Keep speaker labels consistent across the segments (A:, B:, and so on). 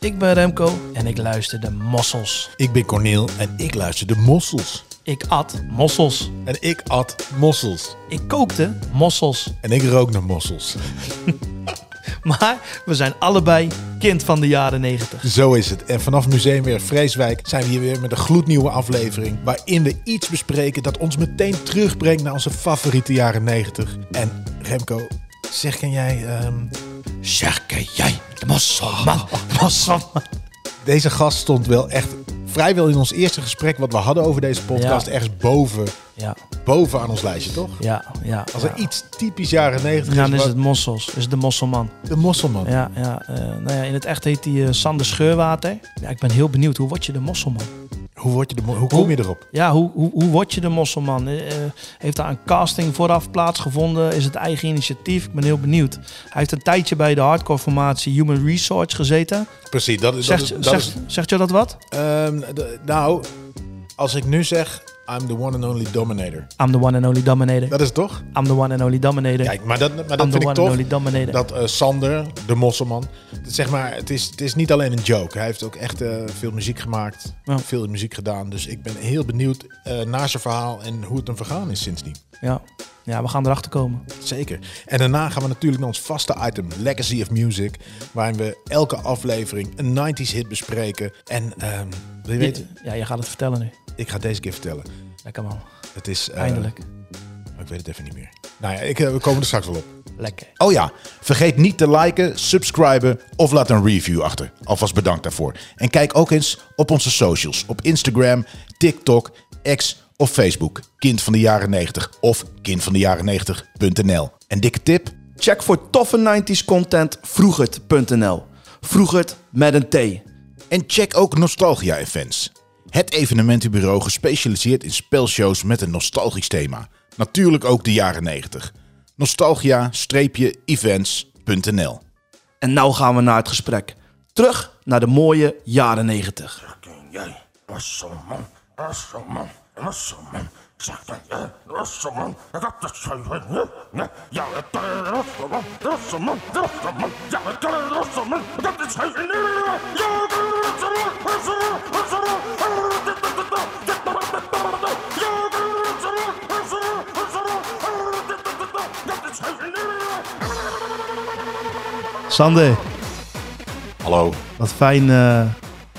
A: Ik ben Remco en ik luister de mossels.
B: Ik ben Corneel en ik luister de mossels.
A: Ik at mossels.
B: En ik at mossels.
A: Ik kookte mossels.
B: En ik rook naar mossels.
A: Maar we zijn allebei kind van de jaren 90.
B: Zo is het. En vanaf Museumwerf Vreeswijk zijn we hier weer met een gloednieuwe aflevering. Waarin we iets bespreken dat ons meteen terugbrengt naar onze favoriete jaren 90. En Remco, zeg ken jij. ehm,
A: Zeg jij, de mosselman, mosselman.
B: deze gast stond wel echt vrijwel in ons eerste gesprek wat we hadden over deze podcast.
A: Ja.
B: Ergens boven,
A: Ja,
B: boven aan ons lijstje, toch?
A: ja, ja.
B: Als
A: ja.
B: er iets typisch jaren 90
A: Dan
B: is,
A: is
B: wat-
A: het mossels, is het de mosselman.
B: de mosselman.
A: Ja, ja, eh, nou ja, in het echt heet hij eh, Sander Scheurwater. Ja, ik ben heel benieuwd, hoe word je de mosselman?
B: Hoe, word je de, mo- hoe kom je erop?
A: Ja, hoe, hoe, hoe word je de mosselman? Eh, eh, heeft daar een casting vooraf plaatsgevonden? Is het eigen initiatief? Ik ben heel benieuwd. Hij heeft een tijdje bij de hardcore formatie Human Resource gezeten.
B: Precies, dat is,
A: Zegt,
B: dat is, dat
A: zegt,
B: is
A: zegt jou dat wat?
B: Ehm, d- nou, als ik nu zeg, I'm the one and only dominator.
A: I'm the one and only dominator.
B: Dat is het toch?
A: I'm the one and only dominator.
B: Kijk, maar dat, maar dat
A: I'm the
B: vind ik
A: one and
B: toch.
A: only dominator.
B: Dat eh, Sander, de mosselman, dat zeg maar, het is, het is niet alleen een joke. Hij heeft ook echt eh, veel muziek gemaakt,
A: Ja.
B: veel muziek gedaan. Dus ik ben heel benieuwd eh, naar zijn verhaal en hoe het hem vergaan is sindsdien.
A: Ja. ja, we gaan erachter komen.
B: Zeker. En daarna gaan we natuurlijk naar ons vaste item, Legacy of Music. Waarin we elke aflevering een 90s hit bespreken. En ehm, wil je weten,
A: Ja, je gaat het vertellen nu.
B: ik ga het deze keer vertellen.
A: Lekker man,
B: Het is... eh,
A: eindelijk.
B: Maar Ik weet het even niet meer. Nou ja, ik, eh, we komen er straks wel op.
A: Lekker.
B: Oh ja, vergeet niet te liken, subscriben of laat een review achter. Alvast bedankt daarvoor. En kijk ook eens op onze socials. Op Instagram, TikTok, X of Facebook. Kind van de jaren 90 of kindvandejaren90.nl. En dikke tip?
C: Check voor toffe 90s content vroegert.nl. Vroegert met een T.
B: En check ook Nostalgia Events. Het evenementenbureau gespecialiseerd in spelshows met een nostalgisch thema. Natuurlijk ook de jaren 90. Nostalgia-events.nl
C: En nou gaan we naar het gesprek. Terug naar de mooie jaren 90.
D: Zakken jij, Wasselman, Wasselman, Wasselman. Zakken jij, Wasselman, dat is zijn hè? Nee, Ja, het kan Wasselman, Wasselman, Wasselman. Ja, het kan Wasselman, dat is zijn hè? Ja, het kan Wasselman, Wasselman, Wasselman. Ja, het kan Wasselman, Wasselman, Wasselman. Dat is zijn hè?
A: Sander,
B: Hallo.
A: wat fijn, eh,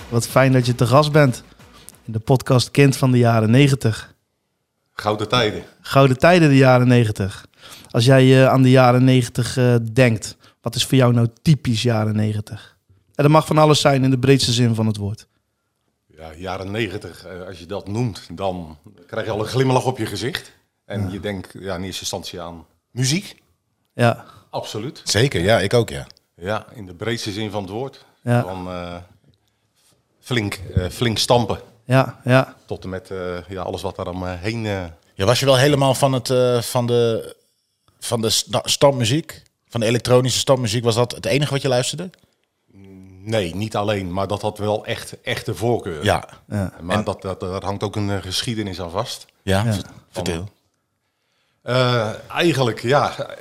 A: wat fijn dat je te gast bent. In de podcast Kind van de jaren 90.
E: Gouden tijden.
A: Gouden tijden de jaren 90. Als jij eh, aan de jaren 90 eh, denkt, wat is voor jou nou typisch jaren 90? En dat mag van alles zijn in de breedste zin van het woord.
E: Ja, jaren negentig, eh, als je dat noemt, dan krijg je al een glimlach op je gezicht. En je denkt ja, in eerste instantie aan muziek.
A: Ja,
E: Absoluut.
B: Zeker, ja, ik ook, ja.
E: Ja, in de breedste zin van het woord.
A: Ja.
E: Van eh, flink, eh, flink stampen.
A: ja, ja.
E: Tot en met eh, ja, alles wat daar omheen. eh
B: Ja, was je wel helemaal van, het, eh, van de, van de sta- stampmuziek? Van de elektronische stampmuziek? Was dat het enige wat je luisterde?
E: nee, niet alleen, maar dat had wel echt, echt de voorkeur.
B: Ja.
E: Maar dat, dat, daar hangt ook een eh, geschiedenis aan vast.
B: Ja, vertel.
E: Eh, eigenlijk, ja. eh,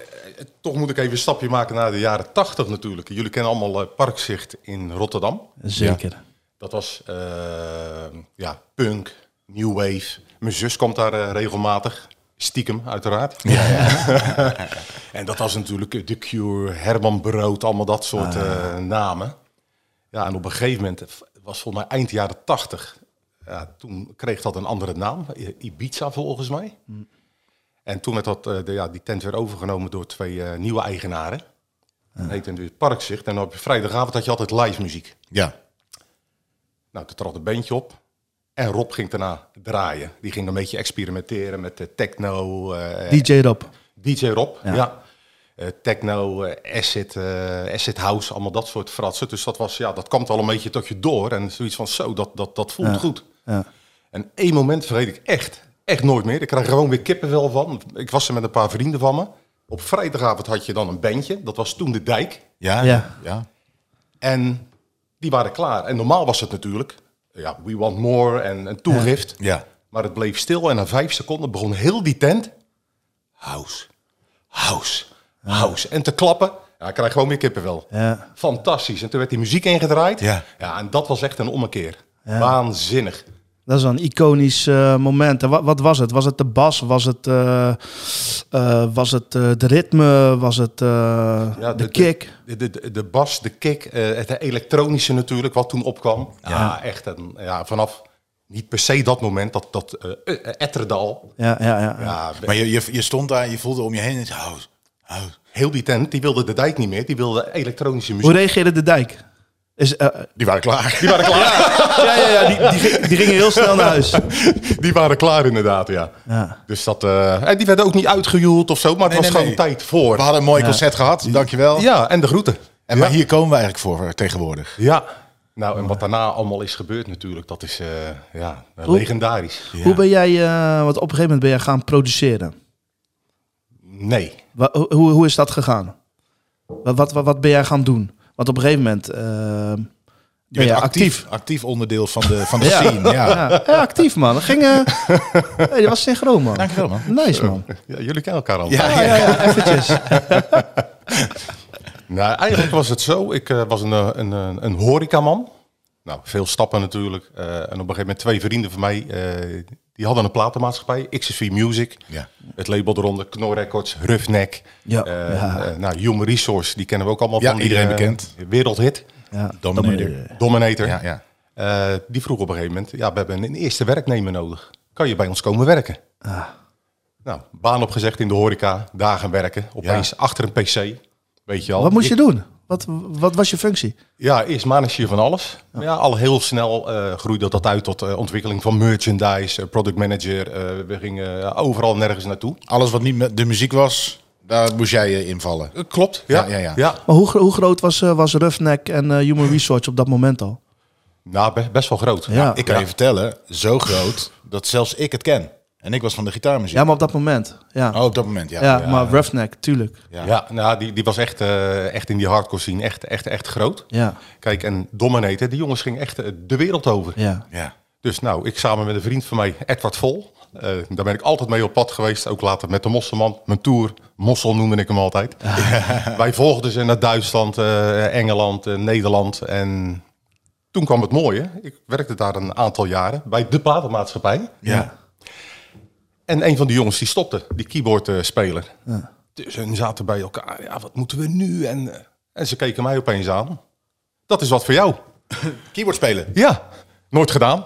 E: Toch moet ik even een stapje maken naar de jaren 80 natuurlijk. Jullie kennen allemaal eh, Parkzicht in Rotterdam.
A: zeker.
E: Dat was eh, ja, punk, new wave. Mijn zus komt daar eh, regelmatig. Stiekem, uiteraard. en dat was natuurlijk eh, The Cure, Herman Brood, allemaal dat soort eh, namen. Ja, en op een gegeven moment, eh, was volgens mij eind jaren tachtig, ja, toen kreeg dat een andere naam, I- Ibiza volgens mij. En toen werd dat, eh, de, ja, die tent weer overgenomen door twee eh, nieuwe eigenaren. Dat heette het weer Parkzicht. En op vrijdagavond had je altijd live muziek.
B: Ja.
E: Nou, toen trad een bandje op. En Rob ging daarna draaien. Die ging een beetje experimenteren met eh, techno. eh,
A: DJ Rob.
E: DJ Rob, ja. Eh, techno, eh, acid, eh, acid house, allemaal dat soort fratsen. Dus dat, was, ja, dat kwam al een beetje tot je door. En zoiets van, zo, dat, dat, dat voelt goed. En één moment vergeet ik echt, echt nooit meer. Ik krijg er gewoon weer kippenvel van. Ik was er met een paar vrienden van me. Op vrijdagavond had je dan een bandje. Dat was toen de dijk.
B: Ja?
A: Ja.
B: ja.
E: En die waren klaar. En normaal was het natuurlijk, ja, we want more en een toegift.
B: Ja.
E: Maar het bleef stil en na vijf seconden begon heel die tent. House, house, house. En te klappen. Ja, ik krijg gewoon meer kippenvel.
C: Ja.
E: Fantastisch. En toen werd die muziek ingedraaid.
B: Ja.
E: ja en dat was echt een ommekeer. Waanzinnig.
A: Dat is een iconisch eh, moment. En wat, wat was het? Was het de bas? Was het, eh, eh, was het eh, de ritme? Was het eh,
E: Ja,
A: de, kick?
E: De, de, de, de bas, de kick, eh, het elektronische natuurlijk, wat toen opkwam. Ja, echt. Een, ja, vanaf niet per se dat moment, dat, dat eh eh, Etterdal.
A: Ja, ja, ja. ja.
E: Ja,
B: Maar je, je, je stond daar, je voelde om je heen en je zei, "Oh, "Au, au."
E: heel die tent, die wilde de dijk niet meer. Die wilde elektronische muziek.
A: Hoe reageerde de dijk? Is, eh,
B: Die waren klaar.
E: Die waren klaar.
A: ja, ja, ja die, die, ging- die gingen heel snel naar huis.
E: Die waren klaar inderdaad, ja.
A: Ja.
E: Dus dat, eh, en die werden ook niet uitgejoeld of zo, maar het
B: Nee,
E: was
B: nee,
E: gewoon
B: nee.
E: tijd voor.
B: We hadden een mooi concert gehad, dankjewel.
E: Ja, en de groeten.
B: En, maar hier komen we eigenlijk voor eh, tegenwoordig.
E: Ja. Nou, en wat daarna allemaal is gebeurd natuurlijk, dat is eh, ja, eh,
A: Hoe-
E: legendarisch.
A: Hoe ben jij, eh, want op een gegeven moment ben jij gaan produceren.
E: Nee.
A: Wa- hoe, hoe- hoe is dat gegaan? Wat, wat, wat, wat ben jij gaan doen? Want op een gegeven moment eh, ben je actief.
B: Actief onderdeel van de, van de
A: Ja.
B: scene, ja.
A: Ja, ja, actief man. Dat ging. eh hey, dat was synchroon man.
B: Dankjewel man.
A: Nice man.
E: Ja, jullie kennen elkaar al.
B: Ja, ja.
A: Oh, Eventjes.
E: Nou, eigenlijk was het zo. Ik eh, was een, eh, een, een, een horecaman. Nou, veel stappen natuurlijk. Eh, en op een gegeven moment twee vrienden van mij, eh, die hadden een platenmaatschappij. XSV Music.
B: Ja.
E: Het label eronder, Knor Records, Roughneck.
A: Ja.
E: Eh,
A: Ja.
E: eh, nou, Human Resource, die kennen we ook allemaal
B: Ja,
E: van. die,
B: iedereen
E: eh,
B: bekend.
E: Wereldhit.
A: Ja,
B: Dominator.
E: Dominator.
B: Ja, ja.
E: Eh, die vroeg op een gegeven moment, ja, we hebben een eerste werknemer nodig. Kan je bij ons komen werken? Nou, baan opgezegd in de horeca, dagen werken, opeens achter een pc. Weet je al.
A: Wat moest je
E: Ik-
A: doen? Wat, wat was je functie?
E: Ja, eerst manage je van alles. Maar ja, al heel snel eh groeide dat uit tot eh, ontwikkeling van merchandise, eh, product manager. eh, we gingen eh, overal nergens naartoe.
B: Alles wat niet met de muziek was, daar moest jij eh, invallen.
E: Eh, klopt,
B: Ja, ja, ja.
A: Maar hoe, gro- hoe groot was, eh, was Roughneck en eh, Human Resource op dat moment al?
E: Nou, be- best wel groot.
A: Ja.
B: Ik kan je vertellen, zo groot dat zelfs ik het ken. En ik was van de gitaarmuziek.
A: Ja, maar op dat moment. Ja,
B: Oh, op dat moment, ja.
A: ja, maar Roughneck, tuurlijk.
E: Ja, nou, die, die was echt, eh, echt in die hardcore scene. Echt, echt, echt groot.
A: Ja,
E: Kijk, en Dominator, die jongens gingen echt eh, de wereld over.
A: ja.
B: Ja.
E: Dus nou, ik samen met een vriend van mij, Edward Vol. eh, daar ben ik altijd mee op pad geweest. Ook later met de Mosselman, mijn tour. Mossel noemde ik hem altijd. Wij volgden ze naar Duitsland, eh, Engeland, eh, Nederland. En toen kwam het mooie. Ik werkte daar een aantal jaren bij de platenmaatschappij.
B: Ja.
E: En een van die jongens die stopte, die keyboardspeler. Dus hun zaten bij elkaar. Ja, wat moeten we nu? En, eh, en ze keken mij opeens aan. Dat is wat voor jou.
B: Keyboard spelen.
E: Ja, nooit gedaan.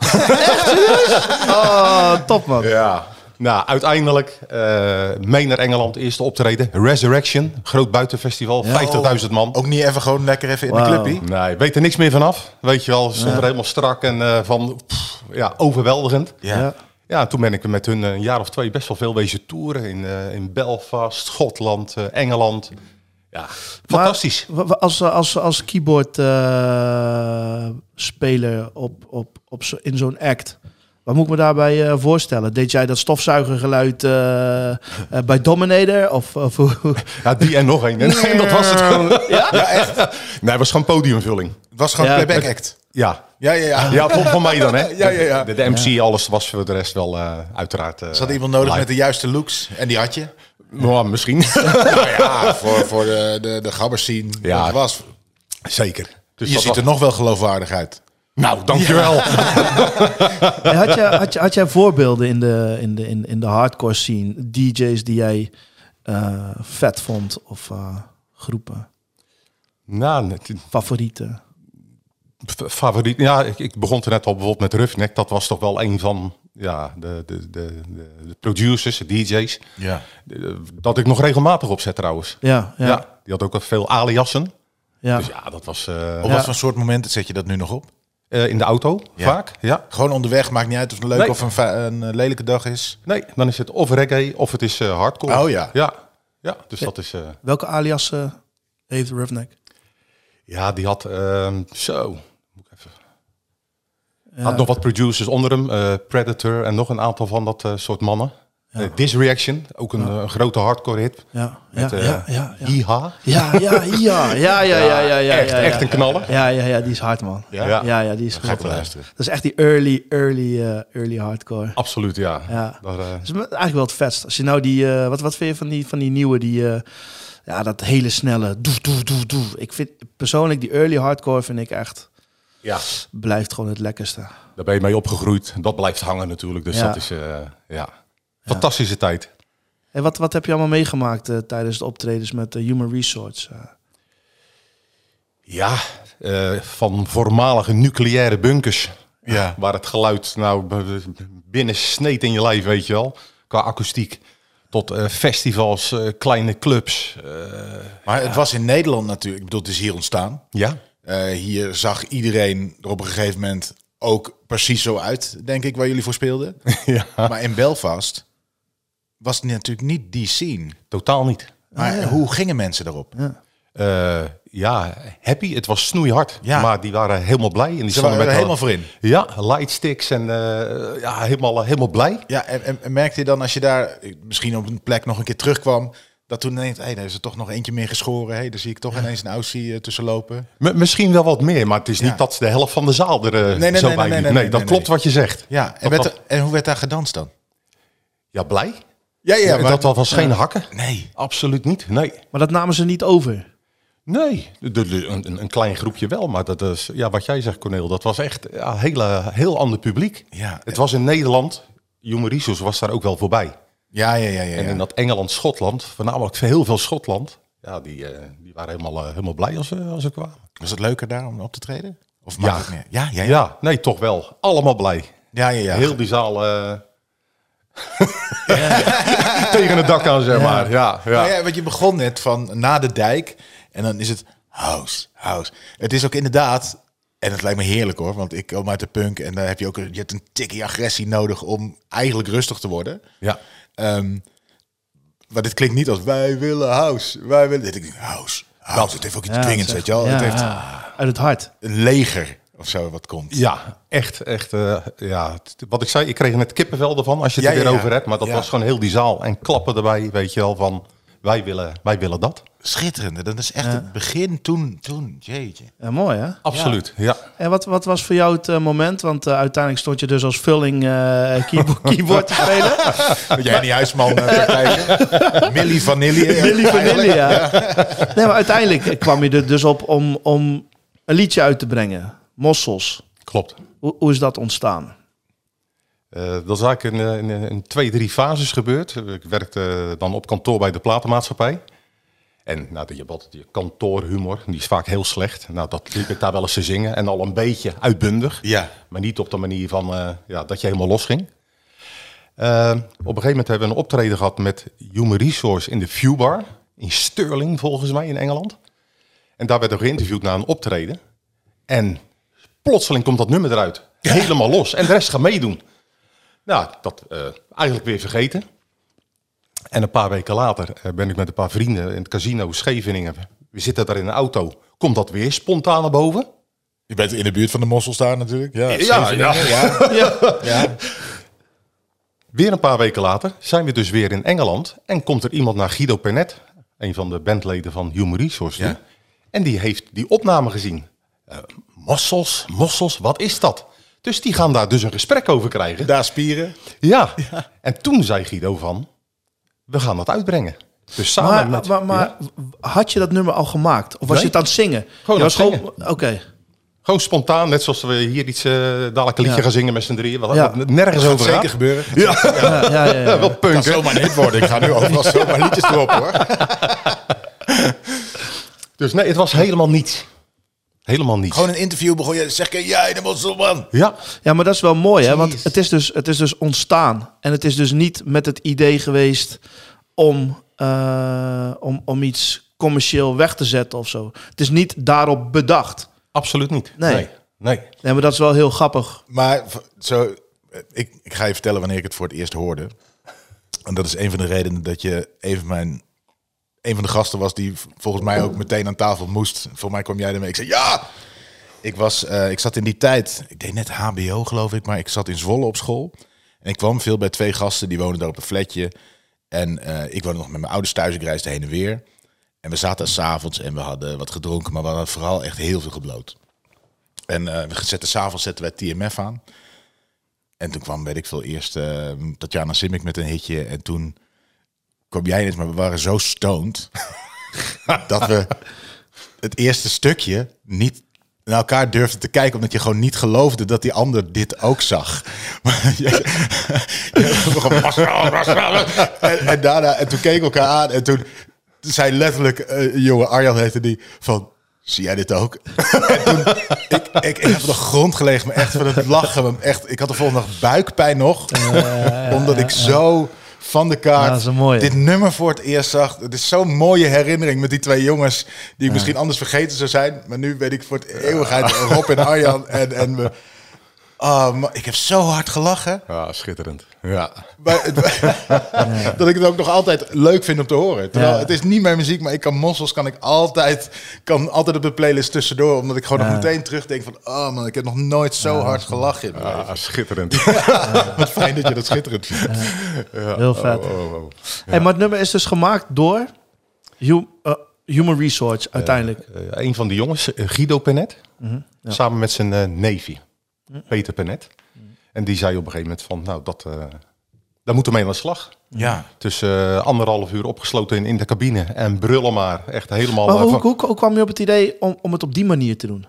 A: Oh, top man.
E: Ja. Nou, uiteindelijk eh, mee naar Engeland, eerste optreden. Resurrection, groot buitenfestival, 50.000 man.
B: Ook niet even gewoon lekker even in de
A: Wauw.
B: clubpie.
E: Nee, weet er niks meer vanaf. Weet je wel, ze stonden er helemaal strak en eh, van, pff, ja, overweldigend.
B: Ja.
A: Ja.
E: Ja, toen ben ik met hun eh, een jaar of twee best wel veel wezen toeren in, eh, in Belfast, Schotland, eh, Engeland. Ja, fantastisch.
A: Maar wa- wa- als, eh, als, als keyboard eh, speler op, op, op, zo- in zo'n act, wat moet ik me daarbij eh, voorstellen? Deed jij dat stofzuigergeluid eh, eh, bij Dominator? Of, of hoe-
E: Ja, die en nog één. En dat was het. Ja, echt? Nee, het was gewoon podiumvulling.
B: Het was gewoon
A: Ja,
B: playback act.
E: Ja,
B: Ja, ja, ja.
E: Ja, voor, voor mij dan, hè?
B: Ja, ja, ja.
E: De, de MC, alles was voor de rest wel eh, uiteraard... eh,
B: Ze hadden iemand nodig
E: live.
B: met de juiste looks. En die had je.
E: Ja, misschien.
B: Nou ja, voor, voor de, de, de gabbers zien.
E: Ja.
B: Ja. Het was.
E: Zeker. Dus
B: je
E: dat
B: ziet er
E: was-
B: nog wel geloofwaardig uit.
E: Nou, dankjewel.
A: Hey, had, jij, had, jij, had jij voorbeelden in de, in, de, in, in de hardcore scene? DJ's die jij eh, vet vond? Of eh, groepen?
E: nou, het-
A: Favorieten?
E: f- favoriet... Ja, ik, ik begon er net al bijvoorbeeld met Roughneck. Dat was toch wel een van ja, de, de, de, de- de producers, de DJ's.
B: Ja.
E: De- Dat ik nog regelmatig opzet, trouwens.
A: Ja, ja, ja.
E: Die had ook wel veel aliassen.
A: ja.
E: Dus ja, dat was eh,
B: Op
A: Ja.
B: wat voor soort momenten zet je dat nu nog op?
E: eh, in de auto vaak. Ja.
B: Gewoon onderweg, maakt niet uit of het een leuke
E: Nee.
B: of een, fa- een eh, lelijke dag is.
E: Nee, dan is het of reggae of het is eh, hardcore.
B: Oh ja.
E: Ja, ja dus dat is... eh,
A: Welke alias eh, heeft Roughneck?
E: Ja, die had ehm, zo. Moet ik even. Had nog wat producers onder hem, eh, Predator en nog een aantal van dat eh, soort mannen. Eh, Disreaction, ook een eh, grote hardcore hit.
A: Ja, ja,
E: Met, eh,
A: ja, ja, ja.
E: Yeeha.
A: Ja, ja, ja, ja, ja, ja, ja, ja,
E: echt,
A: ja,
E: echt
A: ja.
E: een knaller.
A: Ja, ja, ja, die is hard, man.
B: Ja?
E: Ja.
A: Ja, ja, die is
B: Ga ik
A: goed.
B: wel luisteren.
A: Dat is echt die early, early, eh, early hardcore.
E: Absoluut, ja.
A: Ja.
E: Daar, eh,
A: Dat is eigenlijk wel het vetst. Als je nou die, eh, wat, wat vind je van die, van die nieuwe, die, eh, Ja, dat hele snelle doef, doef, doef, doef. Ik vind persoonlijk die early hardcore vind ik echt,
E: Ja,
A: blijft gewoon het lekkerste.
E: daar ben je mee opgegroeid. Dat blijft hangen natuurlijk. Dus
A: Ja.
E: dat is, eh, ja, fantastische tijd.
A: En wat, wat heb je allemaal meegemaakt eh, tijdens de optredens met de Human Resource? eh?
E: Ja, eh, van voormalige nucleaire bunkers. Ja. Waar het geluid nou b- b- binnen sneed in je lijf, weet je wel. Qua akoestiek. Tot eh, festivals, eh, kleine clubs. eh,
B: Maar het was in Nederland natuurlijk. Ik bedoel, het is hier ontstaan.
E: ja.
B: Eh, hier zag iedereen er op een gegeven moment ook precies zo uit, denk ik, waar jullie voor speelden.
E: ja.
B: Maar in Belfast was het natuurlijk niet die scene.
E: Totaal niet.
B: Maar hoe gingen mensen daarop?
E: Eh, ja, happy. Het was snoeihard.
B: Ja.
E: Maar die waren helemaal blij. En die
B: Ze
E: stonden
B: waren er
E: met
B: helemaal voor in.
E: Ja, lightsticks en eh, ja, helemaal, helemaal blij.
B: Ja, en, en, en merkte je dan als je daar eh, misschien op een plek nog een keer terugkwam, dat toen ineens, hé, hey, daar is er toch nog eentje meer geschoren. Hé, daar zie ik toch ineens een Aussie eh, tussen lopen.
E: M- misschien wel wat meer, maar het is
B: Ja.
E: niet dat de helft van de zaal er eh,
B: nee, nee,
E: zo
B: nee,
E: bij
B: nee, nee,
E: liep. Nee,
B: nee,
E: dat
B: nee,
E: klopt
B: nee.
E: wat je zegt.
B: Ja, en,
E: Dat
B: werd
E: was-
B: er- en hoe werd daar gedanst dan?
E: Ja, blij.
B: Ja, ja, maar,
E: dat was geen hakken.
B: Nee.
E: Absoluut niet, nee.
A: Maar dat namen ze niet over.
E: Nee, de, de- een, een- een klein groepje wel, maar dat is, ja, wat jij zegt, Corneel, dat was echt ja, een hele, heel ander publiek.
B: Ja.
E: het was in Nederland, Human Resource was daar ook wel voorbij.
B: Ja, ja, ja, ja.
E: En
B: ja.
E: in dat Engeland-Schotland, voornamelijk heel veel Schotland, ja, die, eh, die waren helemaal, eh, helemaal blij als, ze- als ze kwamen.
B: Was het leuker daar om op te treden? Of maakt het niet? Ja, ja,
E: Ja,
B: ja.
E: nee, toch wel. Allemaal blij.
B: Ja, ja, ja.
E: Heel die zaal eh, tegen het dak aan, zeg maar. Ja, ja.
B: Nou ja, want je begon net van na de dijk en dan is het house, house. Het is ook inderdaad, en het lijkt me heerlijk hoor, want ik kom uit de punk en daar heb je ook een- je hebt een tikkie agressie nodig om eigenlijk rustig te worden.
E: ja.
B: Ehm, maar dit klinkt niet als wij willen house, wij willen dit. Ik denk, House, house. Het heeft ook iets
A: Ja,
B: dwingends,
A: zeg.
B: weet je wel.
A: Ja,
B: het heeft
A: ja. Uit het hart.
B: een leger of zo wat komt.
E: Ja, echt, echt. eh, ja. t- Wat ik zei, ik kreeg net kippenvel ervan als je het
B: Ja,
E: er
B: ja,
E: weer
B: ja.
E: over hebt. Maar dat
B: Ja.
E: was gewoon heel die zaal. En klappen erbij, weet je wel, van wij willen, wij willen dat.
B: Schitterend. Dat is echt het begin toen, toen, jeetje.
A: Ja, mooi hè?
E: Absoluut, ja.
A: En wat, wat was voor jou het eh, moment? Want eh, uiteindelijk stond je dus als vulling eh, keyboard, keyboard te spelen.
B: Dat jij niet huisman eh, praktijken. Millie Vanilli. eh,
A: Milli
B: eigenlijk.
A: Vanilli, ja. Nee, maar uiteindelijk kwam je er dus op om, om een liedje uit te brengen. Mossels.
E: Klopt.
A: Hoe, hoe is dat ontstaan?
E: Eh, dat is eigenlijk in, eh, in, in twee, drie fases gebeurd. Ik werkte dan op kantoor bij de platenmaatschappij. En nou, je hebt altijd je kantoorhumor, die is vaak heel slecht. Nou, dat liep ik daar wel eens te zingen. En al een beetje uitbundig.
B: Ja.
E: Maar niet op de manier van eh, ja, dat je helemaal losging. Eh, op een gegeven moment hebben we een optreden gehad met Human Resource in de Viewbar. In Sterling, volgens mij, in Engeland. En daar werd ik geïnterviewd na een optreden. En plotseling komt dat nummer eruit. Helemaal los. En de rest gaat meedoen. Nou, dat eh, eigenlijk weer vergeten. En een paar weken later eh, ben ik met een paar vrienden in het casino Scheveningen. We zitten daar in een auto. Komt dat weer spontaan naar boven?
B: Je bent in de buurt van de mossels daar natuurlijk. Ja,
E: ja.
B: ja.
E: Weer een paar weken later zijn we dus weer in Engeland en komt er iemand naar Guido Pernet, een van de bandleden van Human Resource. nu.
B: Ja.
E: En die heeft die opname gezien. Eh, mossels, mossels, wat is dat? Dus die gaan daar dus een gesprek over krijgen.
B: Daar spieren.
E: Ja. En toen zei Guido van, we gaan dat uitbrengen. Dus samen
A: Maar,
E: met...
A: maar, maar
E: Ja,
A: had je dat nummer al gemaakt? Of was
E: Nee.
A: je het aan het zingen?
E: Gewoon
A: Je was
E: aan het
A: Oké.
E: gewoon spontaan, net zoals we hier iets eh, dadelijk een liedje
A: Ja.
E: gaan zingen met z'n drieën. Wat,
A: Ja.
E: wat nergens
B: Gaat
E: over gaat.
B: zeker gebeuren. Het
A: Ja, ja, ja, ja.
E: Wel punk,
B: kan
E: hè?
B: zomaar niet worden. Ik ga nu overal zomaar liedjes erop hoor.
E: Dus nee, het was helemaal niets. Helemaal niets.
B: Gewoon een interview begon je. Zeg ik, jij de mosselman.
E: Ja,
A: Ja, maar dat is wel mooi, hè? Want het is, dus, het is dus ontstaan. En het is dus niet met het idee geweest om, eh, om, om iets commercieel weg te zetten of zo. Het is niet daarop bedacht.
E: absoluut niet.
A: Nee.
E: Nee. nee.
A: Nee, maar dat is wel heel grappig.
B: Maar v- zo, eh, ik, ik ga je vertellen wanneer ik het voor het eerst hoorde. En dat is een van de redenen dat je een van mijn... Een van de gasten was die v- volgens mij ook meteen aan tafel moest. Voor mij kwam jij ermee. Ik zei ja! Ik, was, eh, ik zat in die tijd, ik deed net HBO geloof ik, maar ik zat in Zwolle op school. En ik kwam veel bij twee gasten, die woonden daar op een flatje. En eh, ik woonde nog met mijn ouders thuis, ik reisde heen en weer. En we zaten s'avonds en we hadden wat gedronken, maar we hadden vooral echt heel veel gebloot. En eh, we zetten s'avonds zetten wij TMF aan. En toen kwam, weet ik veel, eerst eh, Tatjana Simic met een hitje. En toen kwam jij ineens, maar we waren zo stoned. dat we het eerste stukje niet naar elkaar durfden te kijken, omdat je gewoon niet geloofde dat die ander dit ook zag. Maar je- je- gewoon, "Was wel, was wel." en, en daarna, en toen keken we elkaar aan en toen zei letterlijk, eh jongen Arjan heette die, van, zie jij dit ook? en toen, ik, ik, ik heb op de grond gelegen, maar echt van het lachen. want Echt, ik had de volgende dag buikpijn nog, omdat ik zo van de kaart
A: Ja, dat is een mooie.
B: dit nummer voor het eerst zag. Het is zo'n mooie herinnering met die twee jongens die ik misschien anders vergeten zou zijn. Maar nu weet ik voor het eeuwigheid Rob en Arjan en, en me. Ah, maar ik heb zo hard gelachen.
E: Ja, schitterend. Ja.
B: Maar het- dat ik het ook nog altijd leuk vind om te horen. Terwijl
A: Ja.
B: het is niet mijn muziek, maar ik kan mossels kan ik altijd, kan altijd op de playlist tussendoor. Omdat ik gewoon nog meteen terugdenk van, oh man, ik heb nog nooit zo hard gelachen. in mijn leven.
E: Ah, schitterend.
B: Wat fijn dat je dat schitterend vindt.
A: Heel vet.
E: Oh, oh.
A: Hey, maar het nummer is dus gemaakt door Hu- eh, Human Resource uiteindelijk.
E: Eh, een van de jongens, eh, Guido Penet,
A: Mhm,
E: samen met zijn eh neefje, Peter Penet.
A: Mhm.
E: En die zei op een gegeven moment van, nou, dat, eh, daar moeten we mee aan de slag.
A: Mhm.
B: Ja.
E: Dus eh, anderhalf uur opgesloten in, in de cabine en brullen maar. Echt helemaal...
A: maar
E: eh,
A: hoe,
E: van-
A: hoe, hoe kwam je op het idee om, om het op die manier te doen?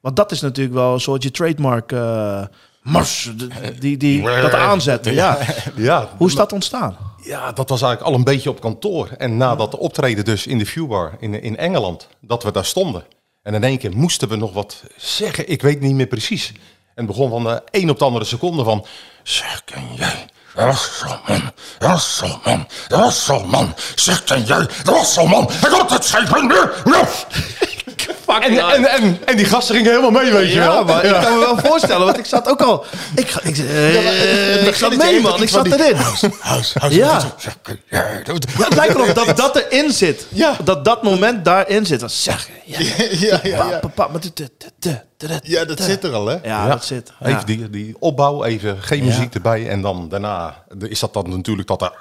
A: Want dat is natuurlijk wel een soort je trademark eh mars, die, die, die dat aanzetten. Ja.
E: ja,
A: Hoe is dat ontstaan?
E: ja, dat was eigenlijk al een beetje op kantoor. En na dat optreden dus in de viewbar in, in Engeland, dat we daar stonden. En in één keer moesten we nog wat zeggen. Ik weet niet meer precies. En het begon van de een op de andere seconde van...
D: Zeg, ken jij Rosselman? Rosselman, Rosselman. Zeg, ken jij Rosselman? Ik had het zeker nu. Ja.
E: En,
B: nou
E: en, en, en die gasten gingen helemaal mee, weet je wel.
A: Ja, maar ik kan me wel voorstellen, want ik zat ook al... Ik, ga- ik, eh, ik zat mee, man. Ik zat erin.
D: Huis, huis.
A: Ja.
D: Zeg, ken jij
A: Ja, het lijkt erop dat dat erin zit.
B: Ja.
A: Dat dat moment daarin zit. Dan zeg ja,
B: Ja, ja, ja.
A: pa, pa, maar dit- dit- dit- dit- dit- dit-
B: ja, dat
A: dit.
B: zit er al, hè?
A: Ja,
E: Ja.
A: dat zit. Ja.
E: Even die, die opbouw, even geen muziek erbij. En dan daarna is dat dan natuurlijk dat er...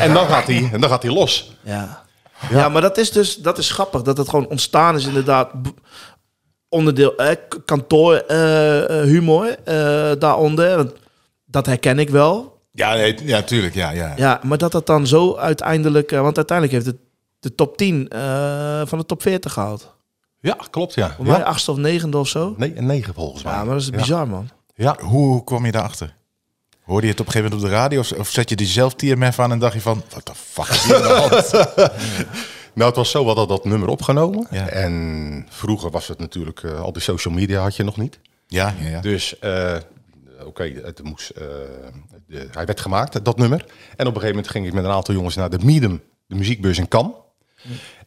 E: En dan gaat hij, en dan gaat hij los.
A: Ja. Ja. maar dat is dus dat is grappig. Dat het gewoon ontstaan is inderdaad. B- Onderdeel eh, k- kantoor, eh, eh, humor eh, daaronder. Want dat herken ik wel.
B: Ja, nee, ja, tuurlijk, ja, ja.
A: Ja, maar dat dat dan zo uiteindelijk... eh, want uiteindelijk heeft het de top 10 eh, van de top 40 gehaald.
E: Ja, klopt ja.
A: Voor mij
E: ja.
A: achtste of negende of zo.
E: Nee, een negen volgens mij.
A: Ja, maar dat is bizar, man.
E: Ja.
B: Hoe kwam je daarachter? Hoorde je het op een gegeven moment op de radio? Of, of zet je die zelf TMF aan en dacht je van... Wat de fuck is hier aan de hand?
E: Nou, het was zo, we hadden dat nummer opgenomen.
B: Ja.
E: En vroeger was het natuurlijk, eh, al die social media had je nog niet.
B: Ja, ja, ja.
E: Dus, eh, oké, het moest, eh, de- hij werd gemaakt, dat nummer. En op een gegeven moment ging ik met een aantal jongens naar de Miedem, de muziekbeurs in Cannes.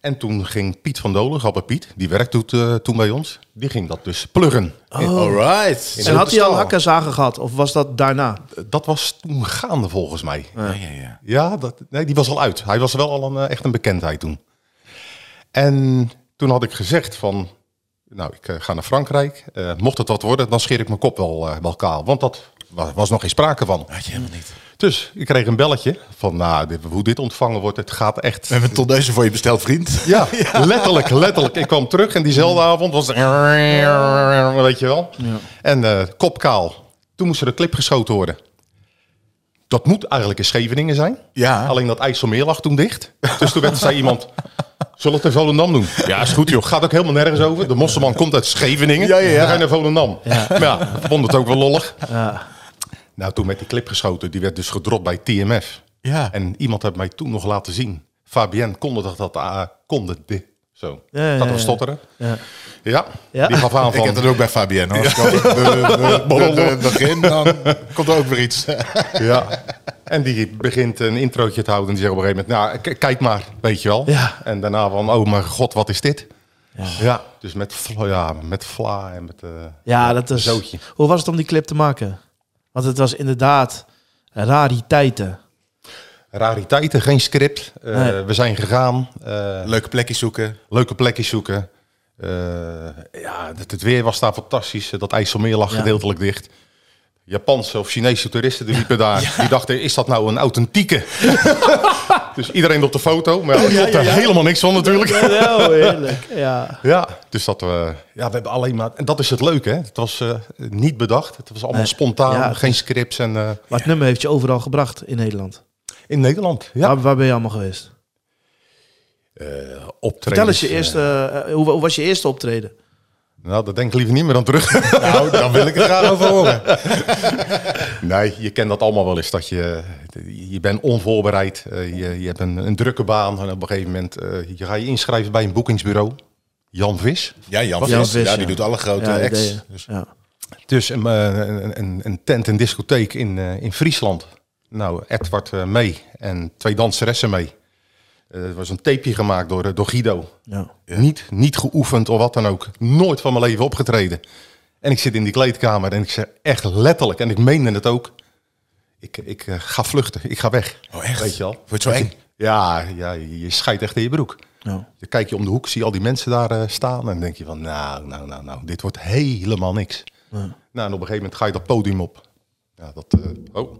E: En toen ging Piet van Dolen, Gabber Piet, die werkte toen, eh, toen bij ons, die ging dat dus pluggen.
B: All right.
A: Oh. En had hij al
E: stal.
A: hakken en zagen gehad? Of was dat daarna?
E: Dat was toen gaande volgens mij.
B: Ja, ja, ja.
E: Ja, dat, nee, die was al uit. Hij was wel al een, eh, echt een bekendheid toen. En toen had ik gezegd van, nou, ik eh, ga naar Frankrijk. Eh, mocht het wat worden, dan scheer ik mijn kop wel, eh, wel kaal. Want dat wa- was nog geen sprake van.
B: Had je helemaal niet.
E: Dus ik kreeg een belletje van, nou, dit- hoe dit ontvangen wordt, het gaat echt...
B: We hebben een tondeuze voor je besteld, vriend.
E: Ja, letterlijk, letterlijk. Ik kwam terug en diezelfde avond was het... Weet je wel? En eh, kopkaal. Toen moest er een clip geschoten worden. Dat moet eigenlijk in Scheveningen zijn.
B: Ja.
E: Alleen dat IJsselmeer lag toen dicht. Dus toen werd, zei iemand... Zullen we het in Volendam doen? Ja, is goed joh. Gaat ook helemaal nergens over. De Mosselman komt uit Scheveningen.
B: Ja, ja, ja.
E: We gaan naar Volendam. Ja. Maar ja, we vonden het ook wel lollig. Nou, toen met die clip geschoten. Die werd dus gedropt bij TMF.
B: Ja.
E: En iemand heeft mij toen nog laten zien. Fabienne kondigde dat aan. Kondigde. Zo.
A: Ja, ja,
E: dat
A: ja.
E: was stotteren.
A: Ja.
E: Ja.
A: Ja.
E: Die gaf aan
B: Ik
E: van...
B: heb dat ook bij Fabienne. Hoor. Als ik over de- de- de- de- begin, dan komt er ook weer iets.
E: Ja. En die begint een introotje te houden. En die zegt op een gegeven moment, nou, k- kijk maar, weet je wel.
A: Ja.
E: En daarna van, oh mijn god, wat is dit? Ja. dus met, vla- ja, met vla en met... eh,
A: Ja, dat is.
E: zootje.
A: Hoe was het om die clip te maken? Want het was inderdaad rariteiten.
E: Rariteiten, geen script. Eh,
A: Nee.
E: We zijn gegaan. eh,
B: Leuke plekjes zoeken.
E: leuke plekjes zoeken. Eh, ja, het, het weer was daar fantastisch. Dat IJsselmeer lag
A: Ja.
E: gedeeltelijk dicht. Japanse of Chinese toeristen die liepen daar. Die dachten, is dat nou een authentieke? dus iedereen op de foto. Maar ja, er klopt er helemaal niks van natuurlijk.
A: Heel heerlijk. Ja.
E: Ja, dus dat we, ja, we hebben alleen maar. En dat is het leuke, hè? Het was eh, niet bedacht. Het was allemaal
A: Nee.
E: spontaan,
A: Ja, het
E: geen scripts. En, eh,
A: Maar het nummer heeft je overal gebracht in Nederland. Nou,
E: in Nederland. Ja.
A: Waar, waar ben je allemaal geweest?
E: eh optredens.
A: Vertel eens je
E: eh,
A: eerste, eh, hoe, hoe was je eerste optreden?
E: Nou, dat denk ik liever niet meer dan terug. Nou, dan wil ik het graag over horen. Nee, je kent dat allemaal wel eens. Dat je, je bent onvoorbereid. eh, Je, je hebt een, een drukke baan. En op een gegeven moment eh, je ga je inschrijven bij een boekingsbureau. Jan Vis.
B: Ja, Jan,
A: Jan
B: Vis.
A: Vis,
B: ja, die
A: ja.
B: doet alle grote
A: Ja, dat
B: acts.
A: deed je.
B: Dus
A: Ja.
E: Dus een, eh, een, een, een tent en discotheek in, eh, in Friesland. Nou, Edward eh, mee en twee danseressen mee. Eh, er was een tapeje gemaakt door, eh, door Guido.
A: Ja.
E: Niet, niet geoefend of wat dan ook. Nooit van mijn leven opgetreden. En ik zit in die kleedkamer en ik zeg echt letterlijk, en ik meende het ook. Ik, ik eh, ga vluchten, ik ga weg.
B: Oh, echt?
E: Weet je al?
B: Wordt zo eng.
E: Ja, ja je je scheidt echt in je broek.
A: Ja.
E: Dan kijk je om de hoek, zie je al die mensen daar eh, staan. En dan denk je van, nou, nou, nou, nou, dit wordt helemaal niks. Nou, en op een gegeven moment ga je dat podium op. Ja, dat, eh, oh.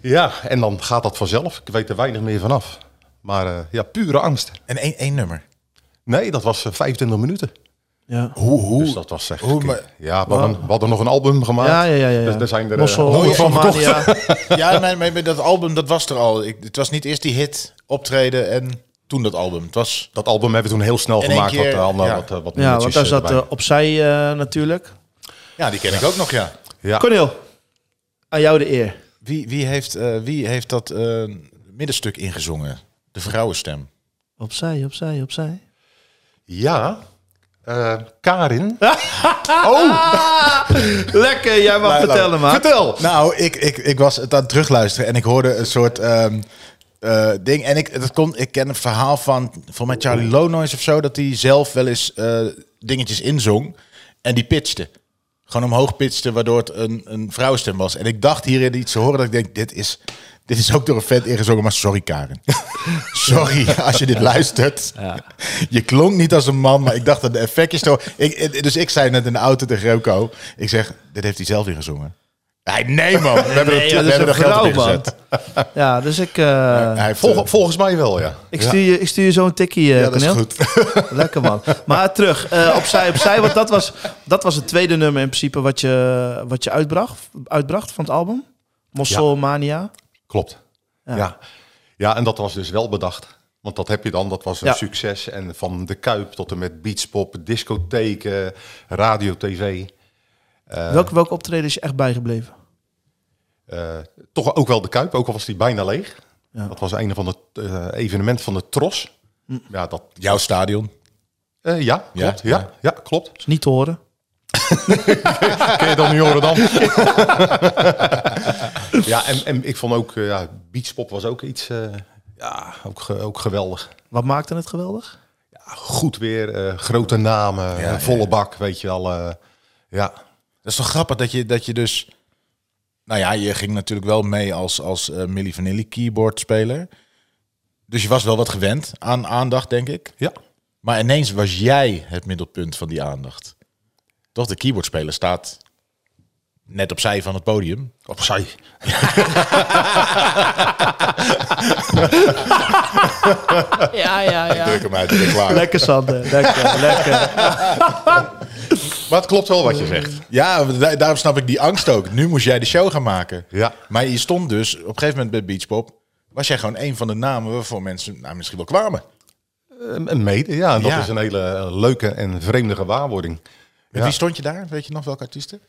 E: ja, en dan gaat dat vanzelf. Ik weet er weinig meer vanaf. Maar eh, ja, pure angst.
B: En één, één nummer.
E: Nee, dat was eh, 25 minuten.
A: Ja.
B: Hoe, hoe?
E: Dus dat was echt...
B: hoe, maar-
E: ja, we hadden, we hadden nog een album gemaakt.
A: Ja, ja, ja, ja, ja.
E: Dus daar zijn er... eh,
A: Mossel,
E: honderd
A: Mossel
E: van verkocht.
A: Mania.
B: ja, nee, maar met dat album, dat was er al. Ik, het was niet eerst die hit, optreden en toen dat album. Het was...
E: Dat album hebben we toen heel snel
B: In één
E: gemaakt.
B: keer,
E: wat, eh, allemaal
B: ja.
E: wat, eh,
A: Ja,
E: wat
A: want
E: nummertjes,
A: daar
E: eh,
A: zat
E: erbij.
A: eh, opzij eh, natuurlijk.
B: Ja, die ken ik ook nog, ja.
E: ja.
A: Cornel, aan jou de eer.
B: Wie, wie, heeft, eh, wie heeft dat eh, middenstuk ingezongen? De vrouwenstem.
A: Opzij, opzij, opzij.
E: Ja, eh, Karin.
A: Oh! Lekker, jij mag vertellen, maar.
E: Oh! Vertel!
B: Nou, ik, ik, ik was het aan het terugluisteren en ik hoorde een soort ehm, eh, ding. En ik, dat kon, ik ken een verhaal van, van met Charlie Lonois of zo, dat hij zelf wel eens eh, dingetjes inzong en die pitchte. Gewoon omhoog pitchte, waardoor het een, een vrouwenstem was. En ik dacht hierin iets te horen dat ik denk, dit is, dit is ook door een vent ingezongen, maar sorry Karen. sorry als je dit luistert. Je klonk niet als een man, maar ik dacht dat de effectjes... Te horen- ik, ik- dus ik zei net in de auto tegen Remco, ik zeg, dit heeft hij zelf ingezongen. Hij, nee man, we hebben
A: Nee,
B: er,
A: ja,
B: we
A: dat is
B: hebben er
A: een
B: geld op
A: vrouw,
B: ingezet.
A: Ja, dus ik, eh,
B: Hij heeft, eh,
E: Vol- volgens mij wel, ja.
A: ik, stuur je, ik stuur je zo'n tikkie, eh
B: ja, dat is
A: Cornel.
B: goed.
A: Lekker man. Maar terug, eh, opzij, opzij. Want dat was, dat was het tweede nummer in principe wat je, wat je uitbracht, uitbracht van het album. Mossel Mania.
E: Klopt. Ja. ja. en dat was dus wel bedacht. Want dat heb je dan, dat was een
A: Ja.
E: succes. En van de Kuip tot en met beachpop, discotheken, radio, tv.
B: Eh.
A: welke, welke optreden is je echt bijgebleven?
E: Eh, toch ook wel de Kuip, ook al was die bijna leeg. Dat was een van de evenement van de Tros. Ja, dat,
B: Jouw stadion.
E: eh, ja,
B: Hm. Ja,
E: klopt. Ja, ja.
B: ja.
E: klopt.
A: Is niet te horen.
E: Kun je dat nu horen dan? ja, en, en ik vond ook, eh, ja, beachpop was ook iets, eh, ja, ook, ge- ook geweldig.
A: Wat maakte het geweldig?
E: goed weer, eh, grote namen, eh, volle
B: ja.
E: bak, weet je wel. eh, ja.
B: Dat is toch grappig dat je, dat je dus... Nou ja, je ging natuurlijk wel mee als, als eh, Milli Vanilli keyboard speler. Dus je was wel wat gewend aan aandacht, denk ik.
E: ja.
B: Maar ineens was jij het middelpunt van die aandacht. Toch, de keyboardspeler staat net opzij van het podium.
E: Opzij.
B: Druk hem uit, ik ben klaar.
A: Lekker Sander, lekker, lekker.
E: Maar het klopt wel wat je zegt.
B: Ja, da- daarom snap ik die angst ook. Nu moest jij de show gaan maken.
E: Ja.
B: Maar je stond dus, op een gegeven moment bij Beachpop... was jij gewoon een van de namen waarvoor mensen nou, misschien wel kwamen.
E: Een een mede, ja. Ehm, en Dat
B: Ja.
E: is een hele eh, leuke en vreemde gewaarwording.
B: Met
E: Ja.
B: wie stond je daar? Weet je nog welke artiesten?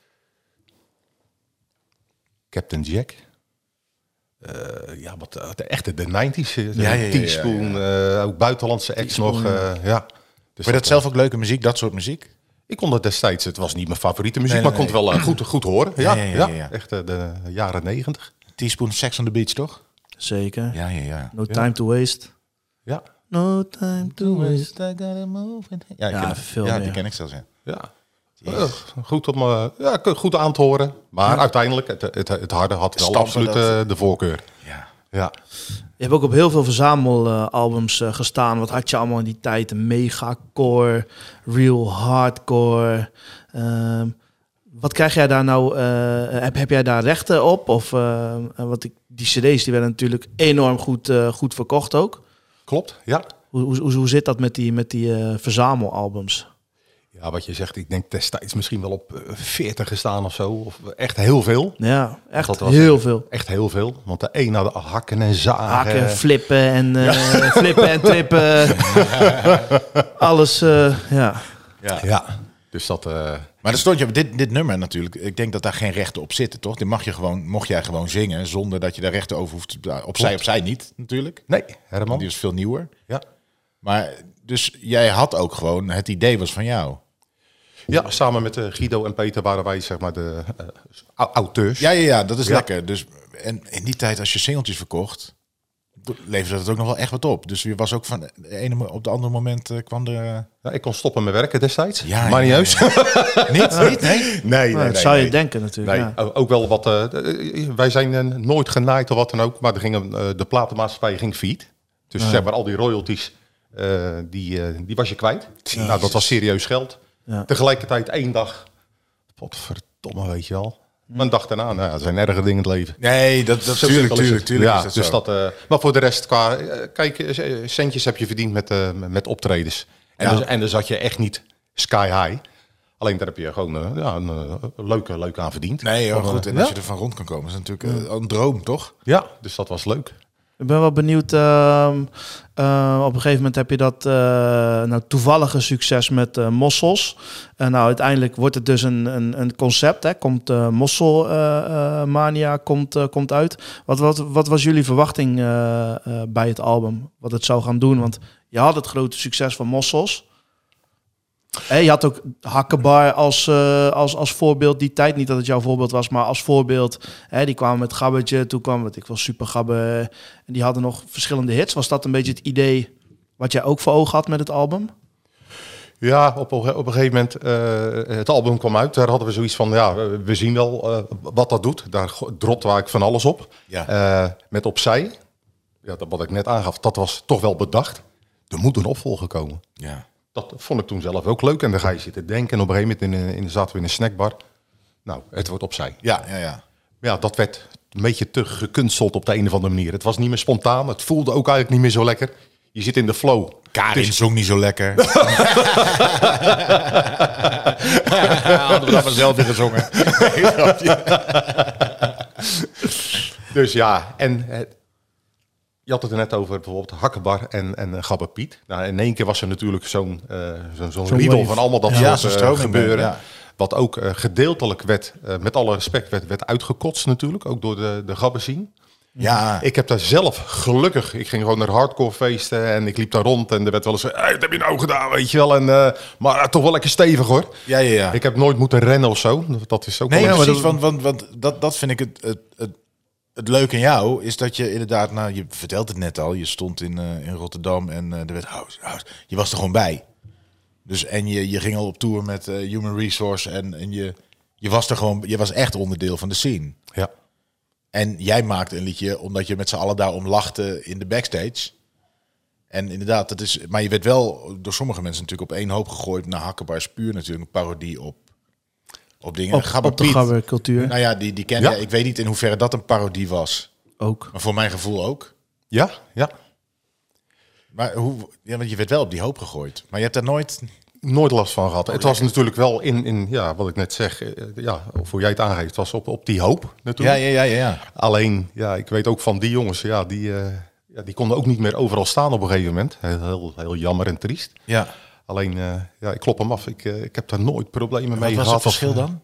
E: Captain Jack. Eh, ja, wat eh, de echte, de 90s. eh,
B: Ja, ja, ja, ja,
E: Teaspoon, eh, ook buitenlandse acts nog. eh, ja. Dus
B: Vond je dat zelf ook leuke muziek, dat soort muziek?
E: Ik kon dat destijds, het was niet mijn favoriete muziek,
B: Nee,
E: maar
B: nee,
E: ik kon het wel eh, goed, goed horen. Ja, ja,
B: ja, ja, ja.
E: echt eh, de jaren 90.
B: Teaspoon Sex on the Beach, toch?
A: Zeker.
B: Ja, ja, ja.
A: No time to waste.
E: Ja,
A: No time to waste.
B: Ja, ik
A: Ja,
B: ken het.
A: veel
B: ja
A: meer.
B: die ken ik zelfs, ja.
E: Ja. Eh, goed, om, eh, ja, k- goed aan te horen. Maar uiteindelijk, het, het, het harde had wel
B: Stampen
E: absoluut
B: dat.
E: eh, de voorkeur.
B: ja.
E: Ja.
A: Je hebt ook op heel veel verzamelalbums eh, gestaan. Wat had je allemaal in die tijd? Megacore, real hardcore. Ehm, wat krijg jij daar nou? eh, heb, heb jij daar rechten op? Of eh, wat ik, die CD's die werden natuurlijk enorm goed, eh, goed verkocht ook.
E: Klopt, ja.
A: Hoe, hoe, hoe, hoe zit dat met die, met die eh, verzamelalbums?
E: ja. ja, wat je zegt, ik denk destijds misschien wel op eh, 40 gestaan of zo. Of echt heel veel.
A: Ja, echt
E: Dat was
A: heel
E: het.
A: veel.
E: Echt heel veel. Want de een naar de hakken en zagen.
A: Haken, flippen en eh, flippen en trippen. Alles, eh, ja.
E: ja. Dus dat... eh,
B: Maar dan stond je op dit, dit nummer natuurlijk. Ik denk dat daar geen rechten op zitten, toch? Dit mag je gewoon, mocht jij gewoon zingen zonder dat je daar rechten over hoeft. te- Opzij, opzij niet, natuurlijk.
E: nee,
B: Want die
E: Herman.
B: is veel nieuwer.
E: Ja.
B: Maar dus jij had ook gewoon, het idee was van jou.
E: ja, samen met eh, Guido en Peter waren wij zeg maar de eh, au- auteurs.
B: Ja, ja, ja, dat is
E: Ja.
B: lekker. Dus, en in die tijd, als je singeltjes verkocht, leverde dat ook nog wel echt wat op. Dus je was ook van de ene mo- op de andere moment eh, kwam de...
E: Ja, ik kon stoppen met werken destijds.
B: Ja,
E: maar niet
B: ja,
E: uit.
B: Niet, niet, nee?
E: Nee, nee,
A: Nou, dat
E: nee,
A: zou je
E: nee.
A: denken natuurlijk.
E: Nee,
A: ja.
E: o- ook wel wat. eh, eh, wij zijn eh, nooit genaaid of wat dan ook, maar er gingen, eh, de platenmaatschappij ging failliet. Dus zeg maar, al die royalties, eh, die, eh, die was je kwijt. Nou, dat was serieus geld.
A: Ja.
E: Tegelijkertijd één dag, potverdomme, weet je wel.
A: Hm.
E: Maar een dag daarna, nou ja, er zijn erger dingen in het leven.
B: Nee, dat, dat tuurlijk,
E: simpel is
B: tuurlijk,
E: het.
B: tuurlijk
E: Ja,
B: is dat
E: dus
B: zo.
E: dat, eh, maar voor de rest, qua, eh, kijk, eh, centjes heb je verdiend met, eh, met optredens. En, dan, en dan zat je echt niet sky high. Alleen daar heb je gewoon eh, ja, een eh, leuke, leuke aan verdiend.
B: Nee, joh,
E: Of, eh,
B: goed. En
E: ja.
B: als je er van rond kan komen, is natuurlijk eh, een droom, toch?
E: Ja, dus dat was leuk.
A: Ik ben wel benieuwd. ehm, eh, op een gegeven moment heb je dat eh, nou, toevallige succes met eh, mossels. En nou, uiteindelijk wordt het dus een, een, een concept. Hè? Komt eh mosselmania eh, mania komt, eh, komt uit. Wat, wat, wat was jullie verwachting eh, eh, bij het album? Wat het zou gaan doen? Want je had het grote succes van mossels. Hé, je had ook Hakkebar als, eh, als, als voorbeeld die tijd. Niet dat het jouw voorbeeld was, maar als voorbeeld. Hè, die kwamen met Gabbertje, toen kwam wat ik wel Super Gabber. En die hadden nog verschillende hits. Was dat een beetje het idee wat jij ook voor ogen had met het album?
E: Ja, op, op een gegeven moment, eh, het album kwam uit. Daar hadden we zoiets van, ja, we- we zien wel eh, wat dat doet. Daar go- dropte ik van alles op.
B: Ja.
E: Eh, met opzij, ja, dat, wat ik net aangaf, dat was toch wel bedacht. Er moet een opvolger komen.
B: Ja.
E: Dat vond ik toen zelf ook leuk. En dan ga je zitten denken. En op een gegeven moment in, een- in, zaten we in een snackbar. Nou, het wordt opzij.
B: Ja, ja, ja.
E: Ja, dat werd een beetje te gekunsteld op de een of andere manier. Het was niet meer spontaan. Het voelde ook eigenlijk niet meer zo lekker. Je zit in de flow.
B: Karin
E: Dus-
B: zong niet zo lekker. Hadden we dat vanzelf weer gezongen.
E: Dus ja, en eh, je had het er net over bijvoorbeeld Hakkebar en, en eh, Gabber Piet. Nou, in één keer was er natuurlijk zo'n eh zo'n zo'n riedel
A: wave.
E: van allemaal
B: Ja,
E: dat
B: zo'n
E: soort eh,
B: stroming,
E: gebeuren.
B: ja.
E: Wat ook eh, gedeeltelijk werd, eh, met alle respect, werd, werd uitgekotst natuurlijk. Ook door de, de Gabber zien.
B: Ja.
E: Ik heb daar zelf gelukkig, ik ging gewoon naar hardcore feesten en ik liep daar rond en er werd wel eens, hey, dat heb je nou gedaan, weet je wel. En, eh, maar eh, toch wel lekker stevig hoor.
B: Ja, ja, ja.
E: Ik heb nooit moeten rennen of zo. Dat is ook
B: Nee,
E: wel
B: maar
E: iets-
B: precies, want, want, want dat, dat vind ik het, het, het, het leuke in jou, is dat je inderdaad, nou, je vertelt het net al, je stond in, eh, in Rotterdam en eh, er werd house, house. Je was er gewoon bij. Dus en je, je ging al op tour met eh, Human Resource en, en je, je was er gewoon, je was echt onderdeel van de scene.
E: Ja.
B: En jij maakte een liedje omdat je met z'n allen daarom lachte in de backstage. En inderdaad, dat is, maar je werd wel door sommige mensen natuurlijk op één hoop gegooid naar Hakkebaars puur natuurlijk, een parodie op, op dingen.
A: Op,
B: Gabber
A: op de
B: Piet.
A: gabbercultuur
B: Nou ja, die, die ken
E: Ja.
B: je. Ik weet niet in hoeverre dat een parodie was.
A: ook.
B: Maar voor mijn gevoel ook.
E: ja, ja.
B: Maar hoe, ja, want je werd wel op die hoop gegooid. Maar je hebt daar nooit...
E: Nooit last van gehad.
B: Oh,
E: het was natuurlijk wel in, in ja, wat ik net zeg, eh, ja, of hoe jij het aangeeft, het was op, op die hoop natuurlijk.
B: ja, ja. ja.
E: Alleen, ja, ik weet ook van die jongens, ja, die, eh, ja, die konden ook niet meer overal staan op een gegeven moment. Heel, heel, heel jammer en triest.
B: ja.
E: Alleen, eh, ja, ik klop hem af. Ik, eh, ik heb daar nooit problemen mee
B: Wat was
E: gehad.
B: het
E: Of,
B: verschil dan?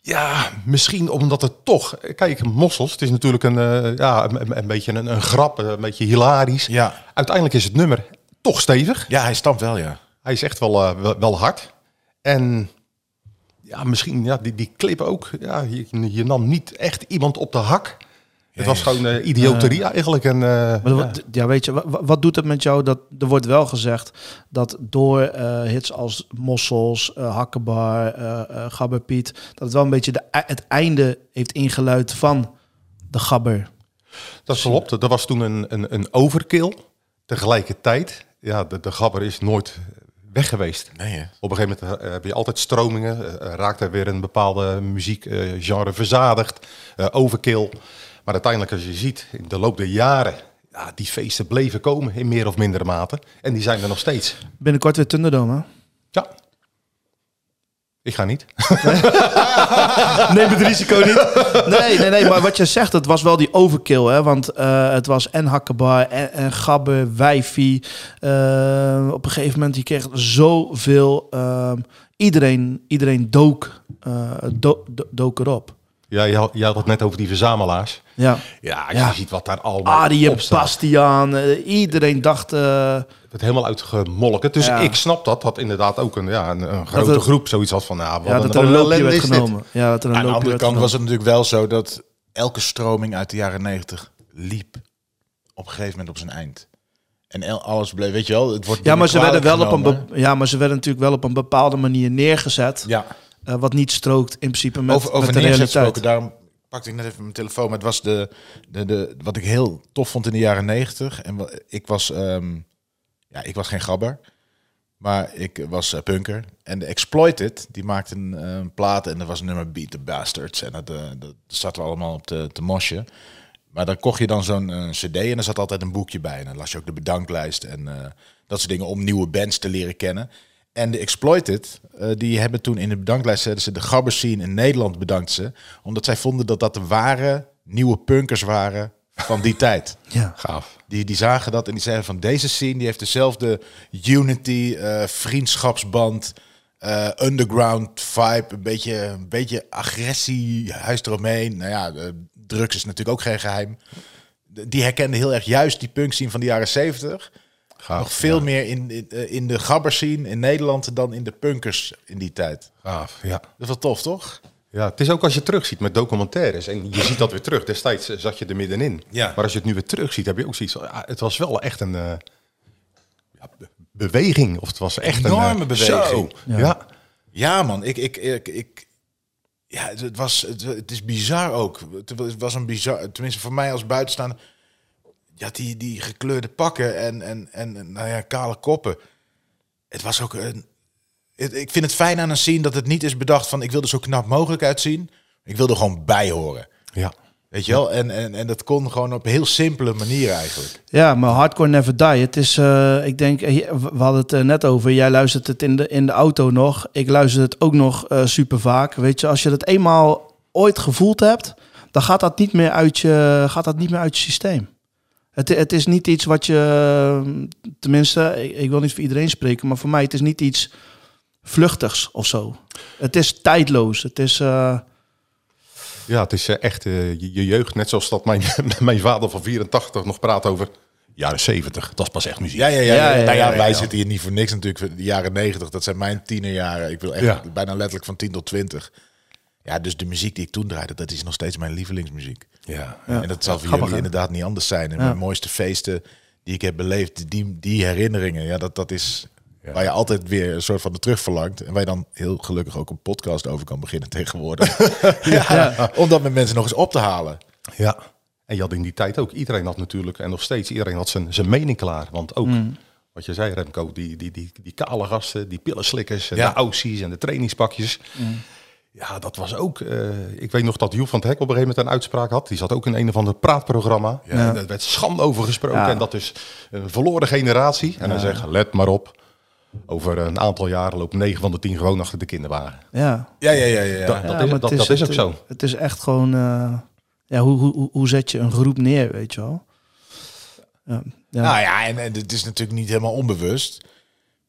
E: Ja, misschien omdat het toch... eh, Kijk, Mossels, het is natuurlijk een, eh, ja, een- een, een beetje een, een grap, eh, een beetje hilarisch.
B: Ja.
E: Uiteindelijk is het nummer toch stevig.
B: Ja, hij stamt wel, ja.
E: Hij is echt wel, eh, wel, wel hard. En ja, misschien ja, die, die clip ook. Ja, je, je nam niet echt iemand op de hak. Het was gewoon eh, idioterie eigenlijk. En, eh,
A: Maar
E: ja.
A: wat- ja. weet je, wa- wa- wat, doet het met jou? Dat, er wordt wel gezegd dat door eh, hits als Mossels, eh, Hakkebar, eh eh, Gabber Piet... dat het wel een beetje de, e- het einde heeft ingeluid van de Gabber.
E: Dat klopt. Er was toen een, een, een overkill. Tegelijkertijd, ja, de, de gabber is nooit weg geweest.
B: Nee, hè?
E: Op een gegeven moment eh, heb je altijd stromingen. eh, raakt er weer een bepaalde muziekgenre verzadigd. eh, overkill. Maar uiteindelijk, als je ziet, in de loop der jaren... Ja, die feesten bleven komen in meer of mindere mate. En die zijn er nog steeds.
A: Binnenkort weer Thunderdome, hè?
E: Ja. Ik ga niet.
A: Neem het risico niet. Nee, nee, nee. Maar wat je zegt, het was wel die overkill. Hè? Want eh, het was en Hakkebar en, en Gabbe, Wijfie. Eh, op een gegeven moment, je kreeg zoveel... ehm, iedereen, iedereen dook, eh, do- do- dook erop.
E: Ja, je had, je had het net over die verzamelaars.
A: Ja.
E: Ja, als
A: Ja. Ah,
E: je ziet wat daar allemaal
A: Arie,
E: op staat.
A: Bastiaan. eh, iedereen dacht... eh,
E: Het werd helemaal uitgemolken. Dus
A: Ja.
E: ik snap dat. Dat inderdaad ook een, ja, een, een grote
A: het-
E: groep zoiets had van... Ja, wat
A: ja,
E: een-
A: dat
E: wat
A: er een loopje
E: ellende
A: werd
E: is dit.
A: genomen. Ja, dat er een
B: Aan de
A: loopje
B: andere
A: werd
B: kant
A: genomen.
B: was het natuurlijk wel zo dat elke stroming uit de jaren 90 liep op een gegeven moment op zijn eind. En el- alles bleef, weet je wel, het wordt
A: Ja, maar ze werden
B: kwalijk
A: wel op een
B: genomen.
A: be- ja, maar ze werden natuurlijk wel op een bepaalde manier neergezet.
B: Ja,
A: eh, wat niet strookt in principe met,
B: over, over
A: met de
B: neerzet
A: realiteit.
B: gesproken, daarom pakte ik net even mijn telefoon. Maar het was de, de, de, wat ik heel tof vond in de jaren 90. En wa- ik was, ehm, ja, ik was geen gabber. Maar ik was eh, punker. En de Exploited, die maakte een eh, plaat en er was een nummer Beat the Bastards. En dat, eh, dat zaten we allemaal op te, te mosje. Maar dan kocht je dan zo'n eh, cd en er zat altijd een boekje bij. En dan las je ook de bedanklijst en eh, dat soort dingen om nieuwe bands te leren kennen. En de Exploited, eh, die hebben toen in de bedanklijst zetten ze de gabber scene in Nederland bedankt ze. Omdat zij vonden dat dat de ware nieuwe punkers waren van die tijd.
A: Ja.
E: Gaaf.
B: Die, die zagen dat en die zeiden van deze scene die heeft dezelfde unity, eh, vriendschapsband, eh, underground vibe, een beetje, een beetje agressie, huis eromheen. Nou ja, eh, drugs is natuurlijk ook geen geheim. De- Die herkende heel erg juist die punk scene van de jaren 70.
E: Gaaf,
B: Nog veel meer in, in, eh, in de gabber scene in Nederland dan in de punkers in die tijd.
E: Gaaf, ja.
B: Dat is wel tof, toch?
E: Ja, het is ook als je terugziet met documentaires. En je ziet dat weer terug. Destijds eh, zat je er middenin.
B: Ja.
E: Maar als je het nu weer terugziet, heb je ook zoiets van... ah, het was wel echt een eh, ja, be- beweging. Of het was echt een...
B: Enorme
E: eh,
B: beweging.
E: zo. Ja.
B: Ja, man, ik, ik, ik, ik ja, het, het was, het, het is bizar ook. Het was- het was een bizar, tenminste voor mij als buitenstaander. Ja, die, die gekleurde pakken en, en, en nou ja, kale koppen. Het was ook een. het- ik vind het fijn aan een scene dat het niet is bedacht van ik wil er zo knap mogelijk uitzien. Ik wil er gewoon bij horen.
E: ja.
B: Weet je wel? En, en, en dat kon gewoon op een heel simpele manier eigenlijk.
A: Ja, maar hardcore never die. Het is, eh, ik denk, eh, je- we hadden het eh, net over. Jij luistert het in de, in de auto nog. Ik luister het ook nog eh, super vaak. Weet je, als je dat eenmaal ooit gevoeld hebt, dan gaat dat niet meer uit je, gaat dat niet meer uit je systeem. Het, het is niet iets wat je, eh, tenminste, ik, ik wil niet voor iedereen spreken, maar voor mij, het is niet iets vluchtigs of zo. Het is tijdloos. Het is, eh,
E: Ja, het is eh, echt eh, je, je jeugd. Net zoals dat mijn, mijn vader van 84 nog praat over jaren 70. Dat is pas echt muziek.
B: Ja, ja, ja.
A: Ja,
B: ja,
A: ja,
B: nou
A: ja,
B: ja,
A: ja,
B: wij
A: ja.
B: zitten hier niet voor niks natuurlijk. De jaren negentig, dat zijn mijn tienerjaren. Ik wil echt
E: Ja.
B: bijna letterlijk van 10 tot 20. Ja, dus de muziek die ik toen draaide, dat is nog steeds mijn lievelingsmuziek.
E: ja.
B: en dat zal voor
A: grappig,
B: jullie
A: hè?
B: inderdaad niet anders zijn. En mijn mooiste feesten die ik heb beleefd, die, die herinneringen, ja, dat, dat is waar je altijd weer een soort van de terug verlangt. En waar je dan heel gelukkig ook een podcast over kan beginnen tegenwoordig. ja, Om dat met mensen nog eens op te halen.
E: Ja. En je had in die tijd ook, iedereen had natuurlijk, en nog steeds, iedereen had zijn, zijn mening klaar. Want ook,
A: Mm.
E: wat je zei Remco, die, die, die, die kale gasten, die pillenslikkers, en
B: Ja.
E: de aussies en de trainingspakjes.
A: Mm.
E: Ja, dat was ook, eh, ik weet nog dat Joep van het Hek op een gegeven moment een uitspraak had. Die zat ook in een of ander praatprogramma. En daar werd schande over gesproken.
A: Ja.
E: En dat is een verloren generatie. En dan zeggen, let maar op. Over een aantal jaren loopt 9 van de 10 gewoon achter de kinderwagen.
A: ja.
B: Ja, ja, ja, ja.
E: Dat, dat
A: Ja,
E: is,
A: maar
E: dat,
A: het
E: dat is ook
A: het- eh,
E: zo.
A: Het is echt gewoon, eh, ja, hoe, hoe, hoe- hoe zet je een groep neer, weet je wel? Ja, ja.
B: Nou ja, en, en het is natuurlijk niet helemaal onbewust. Ik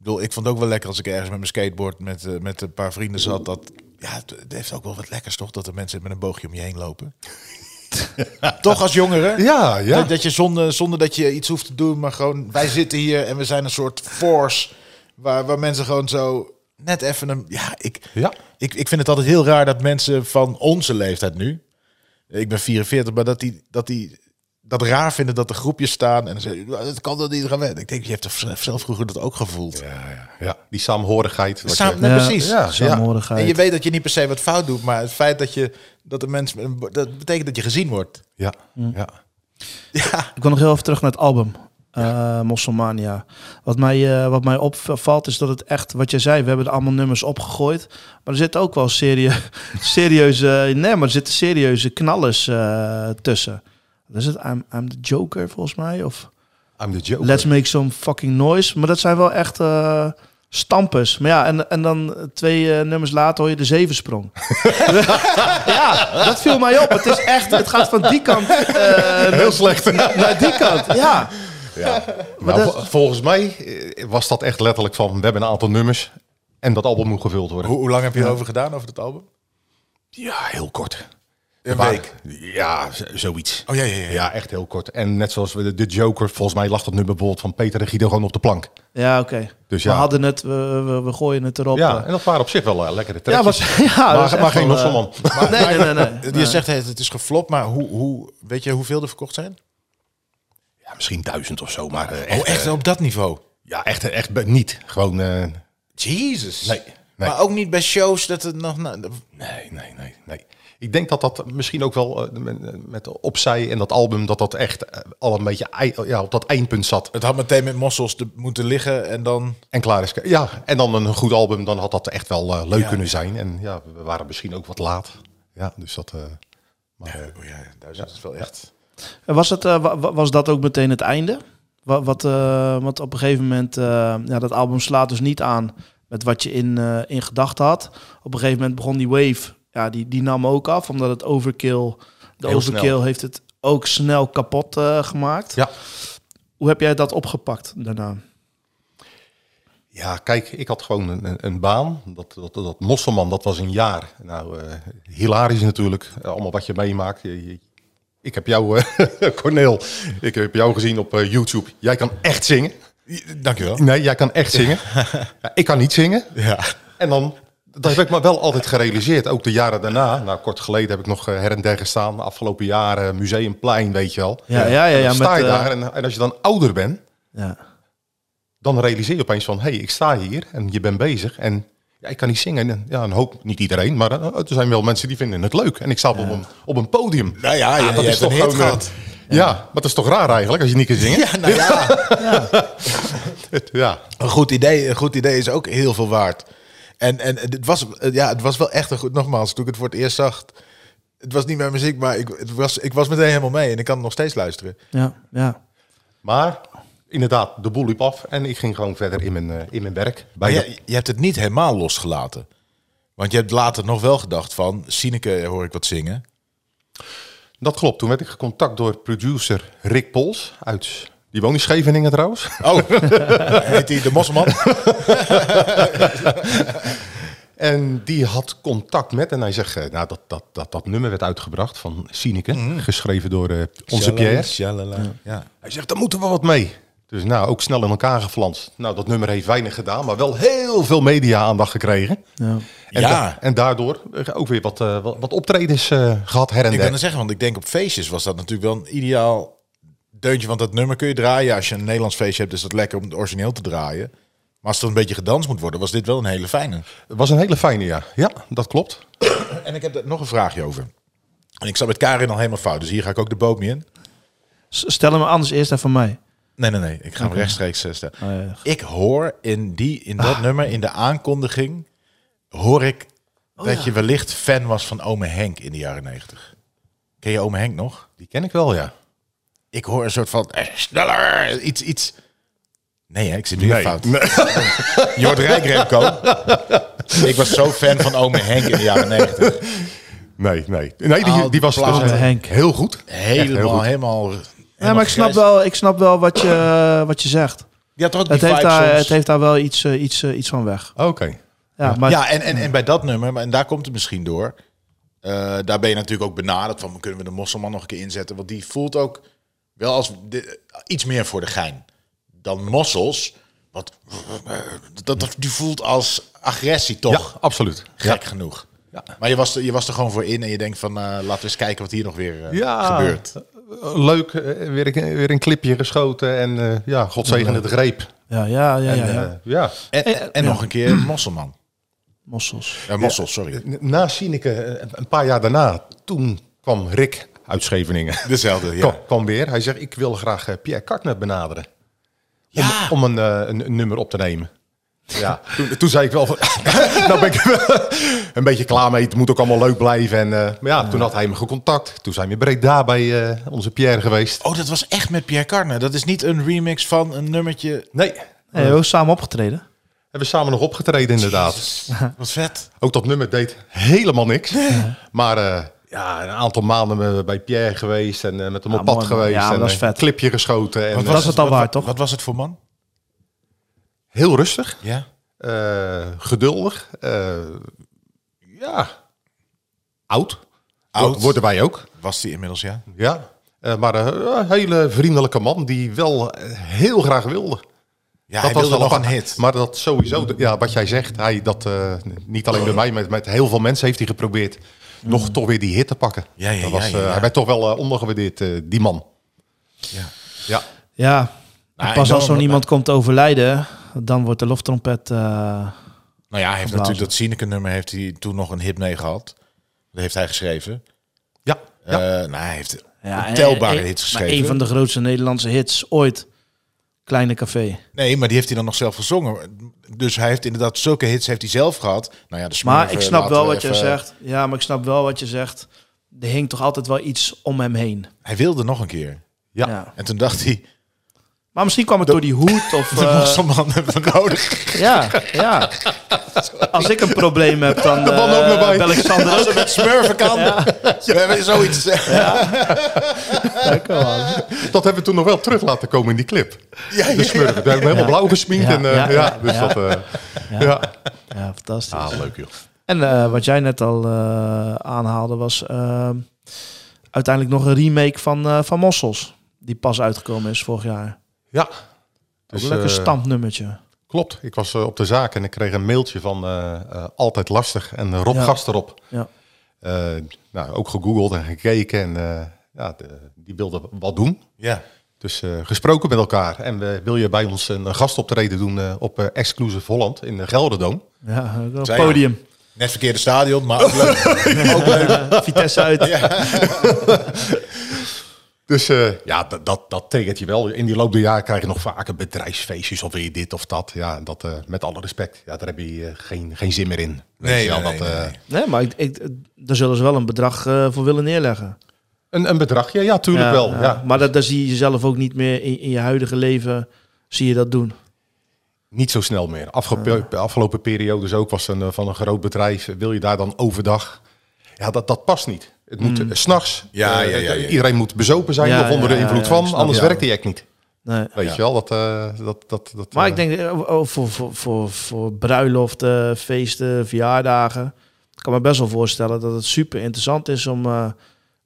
B: bedoel, ik vond het ook wel lekker als ik ergens met mijn skateboard met, eh, met een paar vrienden zat. Dat, ja, het, het heeft ook wel wat lekkers toch, dat er mensen met een boogje om je heen lopen. toch als jongeren?
E: Ja, ja.
B: Dat, dat je zonder, zonder dat je iets hoeft te doen, maar gewoon wij zitten hier en we zijn een soort force waar, waar mensen gewoon zo net even een... Ja, ik,
E: Ja.
B: ik, ik vind het altijd heel raar dat mensen van onze leeftijd nu, ik ben 44, maar dat die, dat die dat raar vinden dat er groepjes staan en dan zeggen, "Nou, dat kan dat niet gaan weg. Ik denk, je hebt toch zelf- zelf vroeger dat ook gevoeld.
E: Ja, ja, ja. Die saamhorigheid. wat
B: Samen,
E: je-
B: nou,
A: Ja,
B: precies.
E: ja,
A: saamhorigheid.
B: En je weet dat je niet per se wat fout doet, maar het feit dat je dat de mens met een bo- dat betekent dat je gezien wordt.
E: Ja,
A: Mm.
E: ja.
B: Ja,
A: Ik wil nog heel even terug naar het album. eh Mosselmania. Wat mij, eh, wat mij opvalt is dat het echt, wat jij zei, we hebben er allemaal nummers opgegooid. Maar er zitten ook wel serie, serieuze, nee, maar er zitten serieuze knallers eh, tussen. Wat is het? I'm, I'm the Joker volgens mij? Of
E: I'm the Joker.
A: Let's Make Some Fucking Noise. Maar dat zijn wel echt eh, Stampers. Maar ja, en, en dan twee eh, nummers later hoor je de zevensprong. ja, dat viel mij op. Het is echt, het gaat van die kant eh,
E: Heel slecht.
A: naar die kant. Ja,
E: Nou,
A: dat-
E: vol- volgens mij eh, was dat echt letterlijk van, we hebben een aantal nummers en dat album moet gevuld worden.
B: Hoe, hoe lang heb je erover gedaan, over dat album?
E: Ja, heel kort.
B: Een
E: Waar-
B: week.
E: Ja, z- zoiets.
B: Oh, ja, ja, ja.
E: Ja, echt heel kort. En net zoals we de, de Joker, volgens mij lag dat nummer bijvoorbeeld van Peter en Guido gewoon op de plank.
A: ja oké.
E: Dus
A: We
E: ja.
A: hadden het, we, we, we gooien het erop.
E: Ja,
A: eh.
E: en dat waren op zich wel eh, lekkere
A: ja,
E: tracks.
A: was, ja dat is
E: maar
A: echt
E: maar geen
A: wel, eh,
E: Losselman.
A: Nee, nee, nee. nee.
B: Je zegt het, het is geflopt, maar hoe, hoe, weet je hoeveel er verkocht zijn?
E: Ja, misschien duizend of zo, maar eh, echt,
B: Oh, echt op dat niveau?
E: eh, ja, echt, echt be- niet. Gewoon, eh,
B: Jezus.
E: Nee, nee.
B: Maar ook niet bij shows dat het nog... Nou,
E: nee, nee, nee, nee. Ik denk dat dat misschien ook wel eh, met, met Opzij en dat album, dat dat echt eh, al een beetje ei- ja, op dat eindpunt zat.
B: het had meteen met mossels te, moeten liggen en dan...
E: En klaar is. Ja, en dan een goed album, dan had dat echt wel eh, leuk kunnen zijn. En ja, we waren misschien ook wat laat. Ja, dus dat. eh, maar, eh,
B: Oh ja, duizend is wel echt...
A: En Was, het, eh, wa- wa- was dat ook meteen het einde? Wat, wat, eh, want op een gegeven moment, eh, ja, dat album slaat dus niet aan met wat je in, eh, in gedachten had. Op een gegeven moment begon die wave, ja, die, die nam ook af, omdat het overkill, de
E: Heel
A: overkill
E: snel.
A: heeft het ook snel kapot eh, gemaakt.
E: Ja.
A: Hoe heb jij dat opgepakt daarna?
E: Ja, kijk, ik had gewoon een, een, een baan. Dat, dat, dat Mosselman, dat was een jaar. Nou, eh, hilarisch natuurlijk. Eh, allemaal wat je meemaakt. Je- je- ik heb jou, eh Corneel, ik heb jou gezien op eh, YouTube. Jij kan echt zingen.
B: Dankjewel.
E: Nee, jij kan echt zingen. Ja, ik kan niet zingen.
B: Ja.
E: En dan, dat heb ik me wel altijd gerealiseerd. Ook de jaren daarna. Nou, kort geleden heb ik nog eh, her en der gestaan. De afgelopen jaren, Museumplein, weet je wel.
A: Ja, ja, ja,
E: En dan
A: ja,
E: sta
A: met,
E: je
A: eh,
E: daar en, en als je dan ouder bent,
A: Ja.
E: dan realiseer je opeens van... hé, hey, ik sta hier en je bent bezig en ja, ik kan niet zingen. En, ja, een hoop, niet iedereen, maar eh, er zijn wel mensen die vinden het leuk. En ik sta op, een, op een podium.
B: Nou ja, je- je hebt een hit
E: eh,
B: gehad.
E: Ja, maar dat is toch raar eigenlijk als je niet kan zingen?
B: Ja, nou ja.
E: ja.
B: Een goed idee, een goed idee is ook heel veel waard. En, en het, was, ja, het was wel echt een goed... Nogmaals, toen ik het voor het eerst zag... Het was niet mijn muziek, maar ik, het was, ik was meteen helemaal mee. En ik kan het nog steeds luisteren.
A: Ja, ja.
E: Maar inderdaad, de boel liep af en ik ging gewoon verder in mijn, eh, in mijn werk. Bij
B: Maar
E: dat-
B: je, je hebt het niet helemaal losgelaten. Want je hebt later nog wel gedacht van... Sineke hoor ik wat zingen.
E: Dat klopt. Toen werd ik gecontact door producer Rick Pols uit... Die woont in Scheveningen trouwens.
B: Oh, heet die de Mosselman?
E: En die had contact met, en hij zegt, eh, nou, dat, dat, dat, dat nummer werd uitgebracht van Sineke,
B: Mhm.
E: geschreven door eh, onze Pierre.
B: Shalala. Ja.
E: Hij zegt, daar moeten we wat mee. Dus nou, ook snel in elkaar geflanst. Nou, dat nummer heeft weinig gedaan, maar wel heel veel media-aandacht gekregen.
A: ja.
E: En,
B: Ja.
E: da- en daardoor eh, ook weer wat, eh, wat, wat optredens eh, gehad her en
B: Ik wil het
E: der.
B: zeggen, want ik denk op feestjes was dat natuurlijk wel een ideaal deuntje. Want dat nummer kun je draaien. Als je een Nederlands feestje hebt, is dat lekker om het origineel te draaien. Maar als er een beetje gedanst moet worden, was dit wel een hele fijne.
E: Het was een hele fijne, ja. Ja, dat klopt.
B: En ik heb daar nog een vraagje over. En ik zat met Karin al helemaal fout, dus hier ga ik ook de boot mee in.
A: S- Stel hem anders eerst even mij.
B: Nee, nee, nee. Ik ga hem rechtstreeks eh, stellen.
A: Oh, ja, ja.
B: Ik hoor in, die, in dat nummer, in de aankondiging, hoor ik dat je wellicht fan was van ome Henk in de jaren negentig. Ken je ome Henk nog?
E: Die ken ik wel, ja.
B: Ik hoor een soort van eh, sneller, iets, iets. Nee, hè, ik zit nu
E: Nee.
B: fout. Jord Rijkremko. ik was zo fan van ome Henk in de jaren negentig.
E: Nee, nee. Nee, die,
B: Al
E: die
B: die
E: was dus
B: platen.
A: Henk.
E: heel goed. Echt heel
B: Helemaal,
E: goed.
B: helemaal.
A: Ja, maar ik snap,
B: wel.
A: wel, ik snap wel wat je, eh, wat je zegt.
B: Ja, toch ook die
A: Het heeft,
B: vibe
A: daar,
B: soms.
A: het heeft daar wel iets, eh, iets, eh, iets van weg.
E: Oké.
A: Ja, maar
B: ja, en, en, en bij dat nummer, maar- en daar komt het misschien door. eh, daar ben je natuurlijk ook benaderd van, kunnen we de Mosselman nog een keer inzetten? Want die voelt ook wel als de- iets meer voor de gein dan Mossels. Wat, dat, dat, die voelt als agressie,
E: Ja,
B: toch?
E: absoluut.
B: Gek genoeg.
E: Ja.
B: Maar je was, er, je was er gewoon voor in en je denkt van, eh, laten we eens kijken wat hier nog weer eh,
E: ja,
B: gebeurt.
E: Leuk, eh, weer een, weer een clipje geschoten en eh, ja, God zegene het greep.
A: ja, ja, ja, ja,
E: En,
A: ja.
E: eh, ja.
B: En, en, en nog een keer Mosselman.
A: Mossels.
B: Eh, Mossels, sorry.
E: Na Sineke, eh, een paar jaar daarna, toen kwam Rick uit Scheveningen.
B: Dezelfde, ja.
E: Kwam, kwam weer. Hij zegt, ik wil graag eh, Pierre Kartner benaderen. Om,
B: Ja.
E: om een, eh, een, een nummer op te nemen. Ja, toen, toen zei ik wel van, nou ben ik er wel een beetje klaar mee. Het moet ook allemaal leuk blijven. En, eh, maar ja, toen had hij me gecontact. Toen zijn we in Breda bij eh, onze Pierre geweest.
B: Oh, dat was echt met Pierre Carne. Dat is niet een remix van een nummertje
E: Nee,
A: Hey, we hebben samen opgetreden.
E: We Hebben we samen nog opgetreden inderdaad.
B: Wat vet.
E: Ook dat nummer deed helemaal niks. Maar eh, ja, een aantal maanden eh, bij Pierre geweest en eh, met hem op pad
A: mooi, man.
E: geweest.
A: Ja, maar
E: en
A: dat is
E: eh,
A: vet.
E: een clipje geschoten. En,
A: was
E: eh,
A: het al
B: wat-
A: waard,
B: wat-
A: toch?
B: Wat was het voor man?
E: Heel rustig,
B: Ja.
E: eh, geduldig. eh, ja, oud.
B: Oud.
E: Worden wij ook.
B: Was die inmiddels, ja?
E: Ja, Eh, maar eh, een hele vriendelijke man die wel eh, heel graag wilde.
B: Ja, hij wilde nog een
E: apart.
B: hit.
E: Maar dat sowieso, de- ja, wat jij zegt, hij dat eh, niet alleen bij mij, met, met heel veel mensen heeft hij geprobeerd nog toch weer die hit te pakken.
B: Mm. Ja, ja,
E: dat
B: ja,
E: was,
B: ja,
E: eh,
B: ja.
E: Hij werd toch wel eh, ondergewaardeerd, eh, die man.
B: Ja.
E: Ja,
A: Ja.
B: Nou,
A: Pas
B: en
A: als
B: dan-
A: zo'n iemand komt te overlijden, dan wordt de loftrompet... eh,
B: Nou ja, hij heeft
A: Geblazen.
B: natuurlijk dat Sineke-nummer heeft hij toen nog een hit mee gehad. Dat heeft hij geschreven.
E: ja,
B: Eh
E: ja.
B: nou, hij heeft
A: ja, en-
B: ontelbare
A: en-
B: hits
A: maar
B: geschreven.
A: een van de grootste Nederlandse hits ooit. Kleine Café.
B: Nee, maar die heeft hij dan nog zelf gezongen. Dus hij heeft inderdaad zulke hits heeft hij zelf gehad. Nou ja, de Smurfen,
A: Maar ik snap
B: laten
A: wel
B: we
A: wat je
B: even-
A: zegt. Ja, maar ik snap wel wat je zegt. Er hing toch altijd wel iets om hem heen.
B: Hij wilde nog een keer.
E: Ja.
A: Ja.
B: En toen dacht hij,
A: Maar misschien kwam het door die hoed of...
B: de
A: eh,
B: Mosselman hebben we nodig.
A: ja, ja. Als ik een probleem heb, dan eh
E: man ook nog bij.
A: bel ik Sander
B: Als
A: ook.
B: het met Smurfen kan. We hebben zoiets. Ja,
E: Eh, dat hebben we toen nog wel terug laten komen in die clip.
B: ja,
E: De smurf, daar hebben we helemaal blauw gesminkt.
A: Ja,
E: en, eh,
A: ja,
E: ja,
A: ja,
E: dus
A: ja.
E: dat... eh, ja.
A: Ja, fantastisch.
E: Ah, leuk joh.
A: En eh, wat jij net al eh, aanhaalde was eh, uiteindelijk nog een remake van, eh, van Mossels. Die pas uitgekomen is vorig jaar.
E: Ja.
A: Dus,
E: Dus,
A: een lekker
E: eh,
A: stampnummertje.
E: Klopt, ik was eh, op de zaak en ik kreeg een mailtje van eh, eh, Altijd Lastig en Rob
A: Ja.
E: Gasterop.
A: Ja.
E: Eh, nou, ook gegoogeld en gekeken en eh, ja, de- die wilde wat doen.
B: ja.
E: Dus eh, gesproken met elkaar. En eh, wil je bij ons een, een gastoptreden doen eh, op eh, Exclusive Holland in de Gelderdoom?
A: Ja, ook wel
B: Zij-
A: podium.
B: Net verkeerde stadion, maar ook leuk.
A: Vitesse uit.
E: Dus eh, ja, dat, dat, dat tekent je wel. In die loop der jaren krijg je nog vaker bedrijfsfeestjes of weer dit of dat. Ja, dat eh, met alle respect. Ja, daar heb je eh, geen, geen zin meer in. Weet
B: Nee,
E: je wel,
B: nee, nee,
E: eh,
B: nee.
A: Nee, maar ik, ik, daar zullen ze wel een bedrag eh, voor willen neerleggen.
E: Een, een bedragje, ja, tuurlijk
A: Ja,
E: wel.
A: ja.
E: Ja.
A: Maar dat, daar zie je jezelf ook niet meer in, in je huidige leven. Zie je dat doen.
E: Niet zo snel meer. Afgepe- Afgelopen periodes ook was een, eh, van een groot bedrijf. Wil je daar dan overdag? Ja, dat, dat past niet. Het moet eh, s s'nachts.
B: Ja,
E: eh,
B: ja, ja, ja.
E: Iedereen moet bezopen zijn
A: Mm. Ja,
E: of onder
A: ja, ja,
E: de invloed
A: ja, ik
E: van.
A: snap
E: Anders
B: het.
E: werkt die act niet.
A: Nee.
E: Weet
B: Ja.
E: je wel, dat... eh, dat, dat, dat
A: Maar
E: eh,
A: ik denk eh, oh, voor, voor, voor, voor bruiloften, feesten, verjaardagen. Ik kan me best wel voorstellen dat het super interessant is om. eh,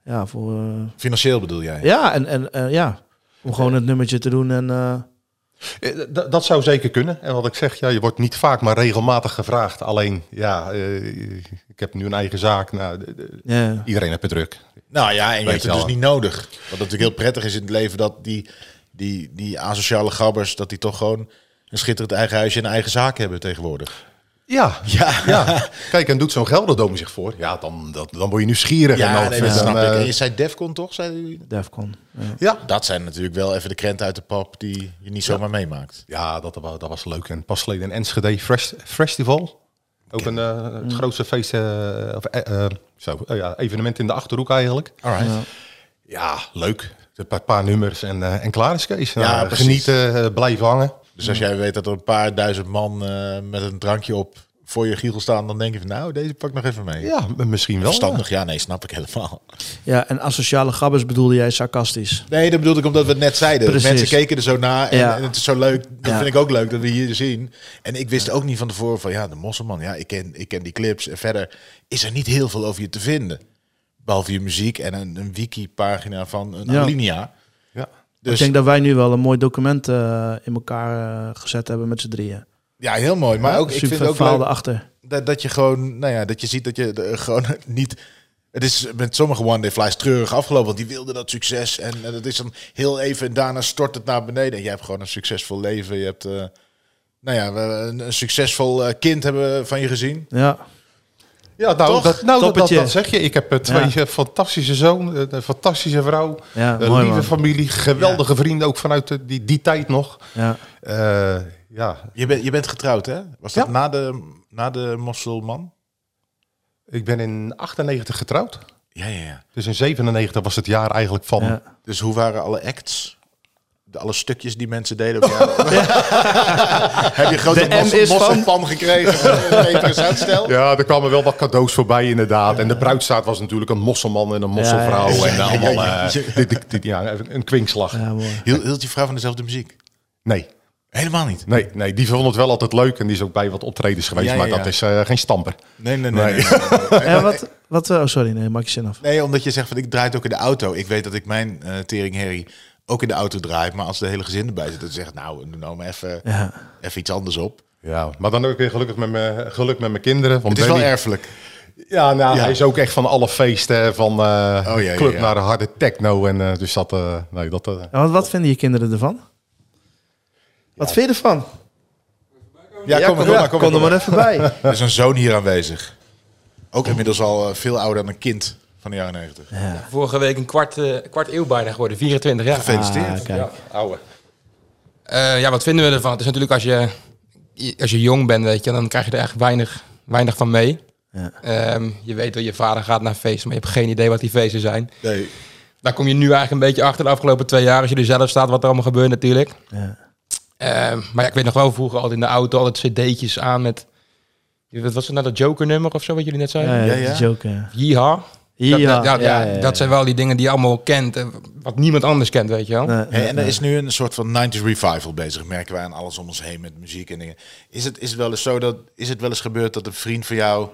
A: ja, voor, eh,
B: Financieel bedoel jij?
A: ja, en, en eh, ja. Om gewoon het nummertje te doen. En, eh,
E: Eh, d- dat zou zeker kunnen. En wat ik zeg, ja, je wordt niet vaak, maar regelmatig gevraagd. Alleen, ja, eh, ik heb nu een eigen zaak. Nou, d- d-
A: ja.
E: iedereen heeft het druk.
B: Nou ja, en je
E: Weet
B: hebt het
E: je
B: dus
E: al.
B: niet nodig. Wat natuurlijk heel prettig is in het leven, dat die, die, die asociale gabbers, dat die toch gewoon een schitterend eigen huisje en een eigen zaak hebben tegenwoordig.
E: Ja,
B: Ja,
E: ja. Kijk, en doet zo'n Gelderdoom zich voor. Ja, dan, dat, dan word je nieuwsgierig. en dan,
B: ja nee, dat
E: en
B: snap
E: dan,
B: ik.
E: eh,
B: En je zei Defcon toch? Zei u?
A: Defcon. Ja.
E: ja.
B: Dat zijn natuurlijk wel even de krenten uit de pap die je niet zomaar meemaakt.
E: Ja, dat, wa- dat was leuk. En pas geleden in Enschede Fresh, Festival. Ook een, eh,
B: Mm.
E: het grootste feest, eh, of, eh, eh, zo, eh, ja, evenement in de Achterhoek eigenlijk.
B: Alright.
E: Ja, leuk. Een paar, paar nummers en, eh, en klaar is Kees. Nou,
B: Ja, precies.
E: genieten, eh, blijven hangen.
B: Dus als jij weet dat er een paar duizend man eh, met een drankje op voor je giegel staan, dan denk je van nou, deze pak ik nog even mee.
E: Ja, m- misschien wel.
B: Verstandig, ja, nee, snap ik helemaal.
A: ja, en asociale gabbers bedoelde jij sarcastisch.
B: Nee, dat bedoelde ik omdat we het net zeiden.
A: Precies.
B: Mensen keken er zo naar en,
A: Ja.
B: en het is zo leuk. Dat
A: Ja.
B: vind ik ook leuk dat we hier dus zien. En ik wist ook niet van tevoren van ja, de Mosselman. Ja, ik ken, ik ken die clips. En verder is er niet heel veel over je te vinden. Behalve je muziek en een, een wiki-pagina van een
A: Ja.
B: Alinea.
E: Ja.
A: Ik
B: Dus
A: denk dat wij nu wel een mooi document eh, in elkaar eh, gezet hebben met z'n drieën.
B: ja, heel mooi. Maar ook, ik
A: super
B: vind het ook
A: verhaal
B: leuk
A: erachter.
B: dat, dat je gewoon, nou ja, dat je ziet dat je er gewoon niet... Het is met sommige One Day Flies treurig afgelopen, want die wilden dat succes. En eh, dat is dan heel even en daarna stort het naar beneden. En jij hebt gewoon een succesvol leven. Je hebt, eh, nou ja, we- een, een succesvol eh, kind hebben we van je gezien.
A: Ja.
E: Ja, nou,
B: Toch?
E: dat, nou dat, dat,
A: Toppertje.
E: dat zeg je. Ik heb eh, twee eh, fantastische zoon, eh, een fantastische vrouw,
A: Ja,
E: een
A: mooi,
E: lieve
A: man.
E: familie, geweldige vrienden ook vanuit eh, die, die tijd nog.
A: Ja.
E: Eh, ja,
B: Je, bent je bent getrouwd, hè? Was dat
E: Ja.
B: na, de, na de mosselman?
E: ik ben in 98 getrouwd.
B: Ja, ja, ja.
E: Dus in 97 was het jaar eigenlijk van.
A: Ja.
B: Dus hoe waren alle acts? de- alle stukjes die mensen deden. Heb je grote
A: De M is van-
B: pan gekregen? eh, Een interessantstel?
E: Ja, er kwamen wel wat cadeaus voorbij inderdaad. En de bruidstaat was natuurlijk een mosselman en een mosselvrouw.
A: Ja,
E: En allemaal eh, dit- dit- dit- ja, een kwinkslag.
A: Ja, mooi.
B: Hield, hield die vrouw van dezelfde muziek?
E: Nee,
B: Helemaal niet.
E: nee, nee, die vond het wel altijd leuk. En die is ook bij wat optredens geweest.
B: Ja, ja,
E: maar
B: ja.
E: dat is eh, geen stamper.
B: Nee, nee, nee. nee, nee, nee.
A: En wat, wat, eh, oh sorry, nee, maak je zin af.
B: Nee, omdat je zegt van ik draai het ook in de auto. Ik weet dat ik mijn eh tering Harry ook in de auto draait. Maar als de hele gezin erbij zit, dan zegt nou, doe nou maar even,
A: Ja.
B: even iets anders op.
E: Ja, maar dan ook weer gelukkig met mijn, geluk met mijn kinderen. Want
B: Het is wel
E: Benny-
B: erfelijk.
E: Ja, nou,
B: Ja.
E: hij is ook echt van alle feesten, van eh,
B: Oh, ja, ja,
E: club
B: ja.
E: naar de harde techno. En eh, dus dat, eh, nee, dat, eh,
A: En wat, wat vinden je kinderen ervan? Wat vind je ervan?
B: Ja, kom, maar, kom, maar, kom, maar,
A: er
B: kom maar.
A: maar even bij.
B: Er is een zoon hier aanwezig. Ook inmiddels al eh, veel ouder dan een kind van de jaren 90.
F: Vorige week een kwart, eh, kwart eeuw bijna geworden, 24 jaar.
B: Gefeliciteerd.
A: Ah, kijk.
E: ouwe.
F: Eh, ja, wat vinden we ervan? Het is natuurlijk als je, als je jong bent, weet je, dan krijg je er echt weinig, weinig van mee. Ehm, je weet dat je vader gaat naar feesten, maar je hebt geen idee wat die feesten zijn.
B: Nee.
F: Daar kom je nu eigenlijk een beetje achter de afgelopen twee jaar, als je er zelf staat, wat er allemaal gebeurt natuurlijk. Ehm, maar ja, ik weet nog wel vroeger altijd in de auto, altijd cd'tjes aan met, wat was het nou, dat Joker nummer of zo, wat jullie net zeiden?
B: Ja,
A: Ja, ja,
B: ja.
A: dat is ook, ja.
F: Yeehaw. Dat,
A: Ja,
F: dat- dat-
A: ja,
F: ja,
A: ja, ja.
F: dat zijn wel die dingen die je allemaal kent, en wat niemand anders kent, weet je wel.
A: Nee,
B: Hey, en er is nu een soort van 90s revival bezig, merken wij aan alles om ons heen met muziek en dingen. Is het, is het wel eens zo dat is het wel eens gebeurd dat een vriend van jou,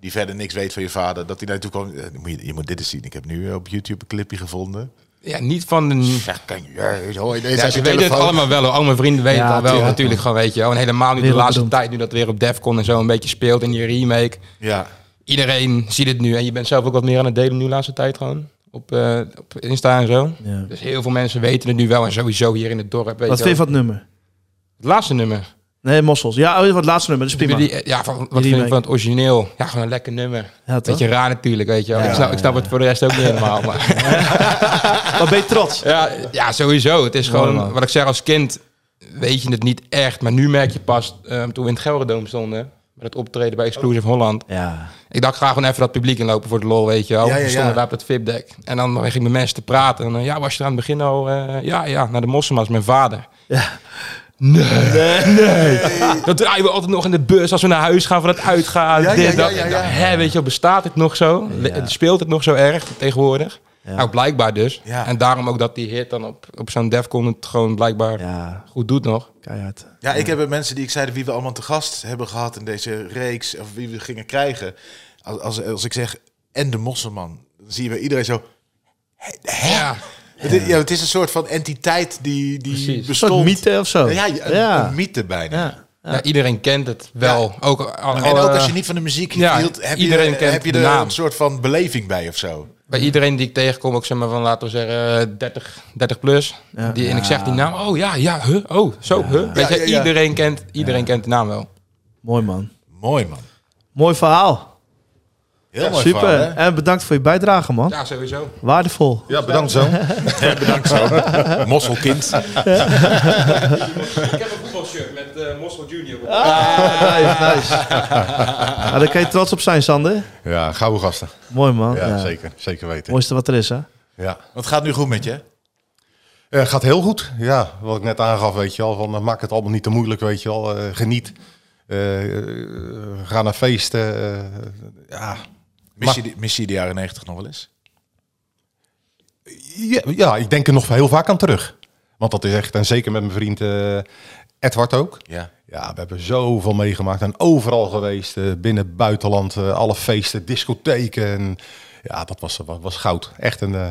B: die verder niks weet van je vader, dat hij naartoe kwam. eh, moet je, je moet dit eens zien. Ik heb nu eh, op YouTube een clipje gevonden.
F: Ja, niet van de...
B: Ja, kan je, ja, hoor je, deze
F: Ja,
B: uit
F: ze
B: je
F: weten het
B: telefoon.
F: allemaal wel. hoor. Al mijn vrienden weten
A: Ja,
F: het al wel
A: tuurlijk.
F: natuurlijk gewoon, weet je wel. En helemaal nu de
A: Wereldberoemd.
F: laatste tijd, nu dat weer op Defcon en zo een beetje speelt in die remake.
B: Ja.
F: Iedereen ziet het nu en je bent zelf ook wat meer aan het delen nu de laatste tijd gewoon. Op, eh, op Insta en zo.
A: ja.
F: Dus heel veel mensen weten het nu wel en sowieso hier in het dorp. Weet
A: Wat
F: je
A: vind je van
F: wel.
A: het nummer?
F: Het laatste nummer.
A: Nee, Mossels. Ja, oh, het laatste nummer, dat is prima.
F: Die- ja, van, wat
A: remake.
F: vind ik van het origineel? Ja, gewoon een lekker nummer.
A: Ja, toch?
F: Beetje raar natuurlijk, weet je wel. ik snap, ik snap het voor de rest ook niet helemaal. Maar.
A: Maar ben je trots?
F: Ja, ja, sowieso. Het is gewoon,
A: man.
F: wat ik zeg, als kind weet je het niet echt. Maar nu merk je pas, ehm, toen we in het Gelderdoom stonden, met het optreden bij Exclusive Holland.
A: Ja.
F: Ik dacht, ga gewoon even dat publiek inlopen voor de lol, weet je wel.
B: Ja, ja,
F: We stonden
B: ja.
F: daar op dat VIP-deck. En dan ging ik met mensen te praten. En eh, ja, was je er aan het begin al, eh, ja, ja, naar de Mosselma's, mijn vader. Nee, nee, Dat draaien we altijd nog in de bus als we naar huis gaan van het uitgaan.
B: Ja, ja,
F: dit,
B: ja,
F: dat.
B: ja, ja.
F: Ik dacht, Hè, weet je wel, bestaat het nog zo? Le- Speelt het nog zo erg tegenwoordig? Nou, blijkbaar dus.
B: Ja.
F: En daarom ook dat die hit dan op, op zo'n Defcon het gewoon blijkbaar
A: Ja,
F: goed doet nog.
A: keihard.
B: Ja, ik heb met mensen die ik zeiden wie we allemaal te gast hebben gehad in deze reeks, of wie we gingen krijgen. Als, als, als ik zeg, en de Mosselman, dan zie je bij iedereen zo.
F: Ja.
B: Het, is, ja, het is een soort van entiteit die, die
F: Precies.
A: Een soort
B: bestond.
A: mythe of zo.
B: Ja, ja, een,
A: Ja.
B: een mythe bijna.
A: Ja.
F: Ja, iedereen kent het wel. Ook, al-
B: En
F: al,
B: ook
F: eh,
B: als je niet van de muziek
F: ja,
B: hield, heb
F: iedereen
B: je,
F: kent
B: heb je
F: de
B: er
F: naam.
B: een soort van beleving bij of zo.
F: bij iedereen die ik tegenkom, ook zeg maar van laten we zeggen eh, 30, 30 plus. Die, en ik zeg die naam, oh ja, ja, huh, oh, zo, huh. Weet je,
B: Ja, ja, ja.
F: Iedereen, kent, iedereen kent de naam wel.
A: Mooi man.
B: Mooi man.
A: Mooi verhaal.
B: Heel mooi
A: Super.
B: verhaal, hè?
A: en bedankt voor je bijdrage, man.
F: Ja, sowieso.
A: Waardevol.
E: Ja, bedankt zo.
B: Bedankt zo. Mosselkind.
F: Ik heb een voetbalshirt met eh, Mossel Junior
A: nice, nice. Nou, daar kan je trots op zijn, Sander.
E: Ja, gouden gasten.
A: Mooi man.
E: Ja,
A: Ja.
E: zeker. Zeker weten.
A: Mooiste wat er is, hè?
E: Ja.
B: Wat gaat nu goed met je?
E: Eh, gaat heel goed. Ja, wat ik net aangaf, weet je al. Van, eh, maak het allemaal niet te moeilijk, weet je al. Eh, geniet. Eh, eh, ga naar feesten. eh, ja.
B: Mis je, die- mis je de jaren 90 nog wel eens?
E: ja. Ja, ik denk er nog heel vaak aan terug. Want dat is echt, en zeker met mijn vriend eh, Edward ook.
B: Ja.
E: Ja, we hebben zoveel meegemaakt en overal geweest. eh, binnen, buitenland, eh, alle feesten, discotheken. En, ja, dat was, was, was goud. Echt een eh,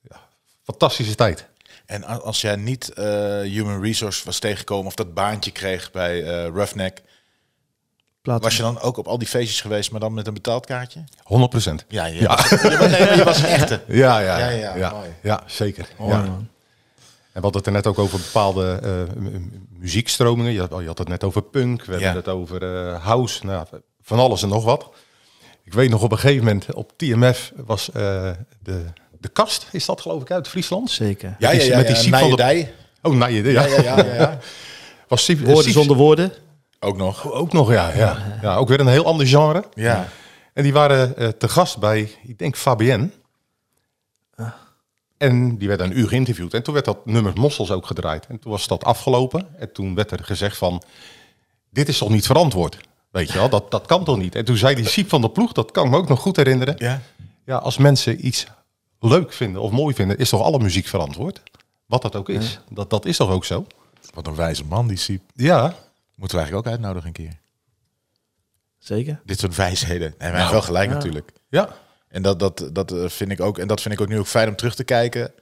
E: ja, fantastische tijd.
B: En a- als jij niet eh, Human Resource was tegengekomen of dat baantje kreeg bij eh Roughneck,
A: Plaat.
B: was je dan ook op al die feestjes geweest, maar dan met een betaald kaartje?
E: 100 procent.
B: Ja, je, Was, je, was- nee, je was een echte.
E: Ja, ja,
B: Ja,
E: ja,
B: ja,
E: ja,
B: mooi.
E: Ja, zeker. ja. En we hadden het er net ook over bepaalde eh, mu- mu- muziekstromingen. Je had, je had het net over punk, we
B: Ja.
E: hebben het over eh, house, nou, ja, van alles en nog wat. Ik weet nog op een gegeven moment op TMF was eh, de, de kast, is dat geloof ik uit Friesland?
A: Zeker.
B: Ja, ja,
E: Met
B: ja.
E: die-
B: ja,
E: met die Siep van de-
B: Nijedij.
E: Oh, nee, ja.
B: Ja, ja, ja, ja, ja.
E: Was Siep-
A: Woorden
E: Siep-
A: zonder woorden.
B: Ook nog.
E: Ook nog, ja, ja. ja. Ook weer een heel ander genre.
B: Ja.
E: En die waren eh, te gast bij, ik denk, Fabien. En die werd een uur geïnterviewd. En toen werd dat nummer Mossels ook gedraaid. En toen was dat afgelopen. En toen werd er gezegd van, dit is toch niet verantwoord? Weet je wel, dat, dat kan toch niet? En toen zei die Siep van de ploeg, dat kan ik me ook nog goed herinneren.
B: Ja.
E: Ja, als mensen iets leuk vinden of mooi vinden, is toch alle muziek verantwoord? Wat dat ook is. Dat, dat is toch ook zo?
B: Wat een wijze man die Siep.
E: Ja,
B: Moeten we eigenlijk ook uitnodigen een keer. Nou.
C: Zeker.
B: Dit soort wijsheden. En wij hebben wel gelijk natuurlijk.
E: ja.
B: En dat, dat, dat eh, vind ik ook. En dat vind ik ook nu ook fijn om terug te kijken.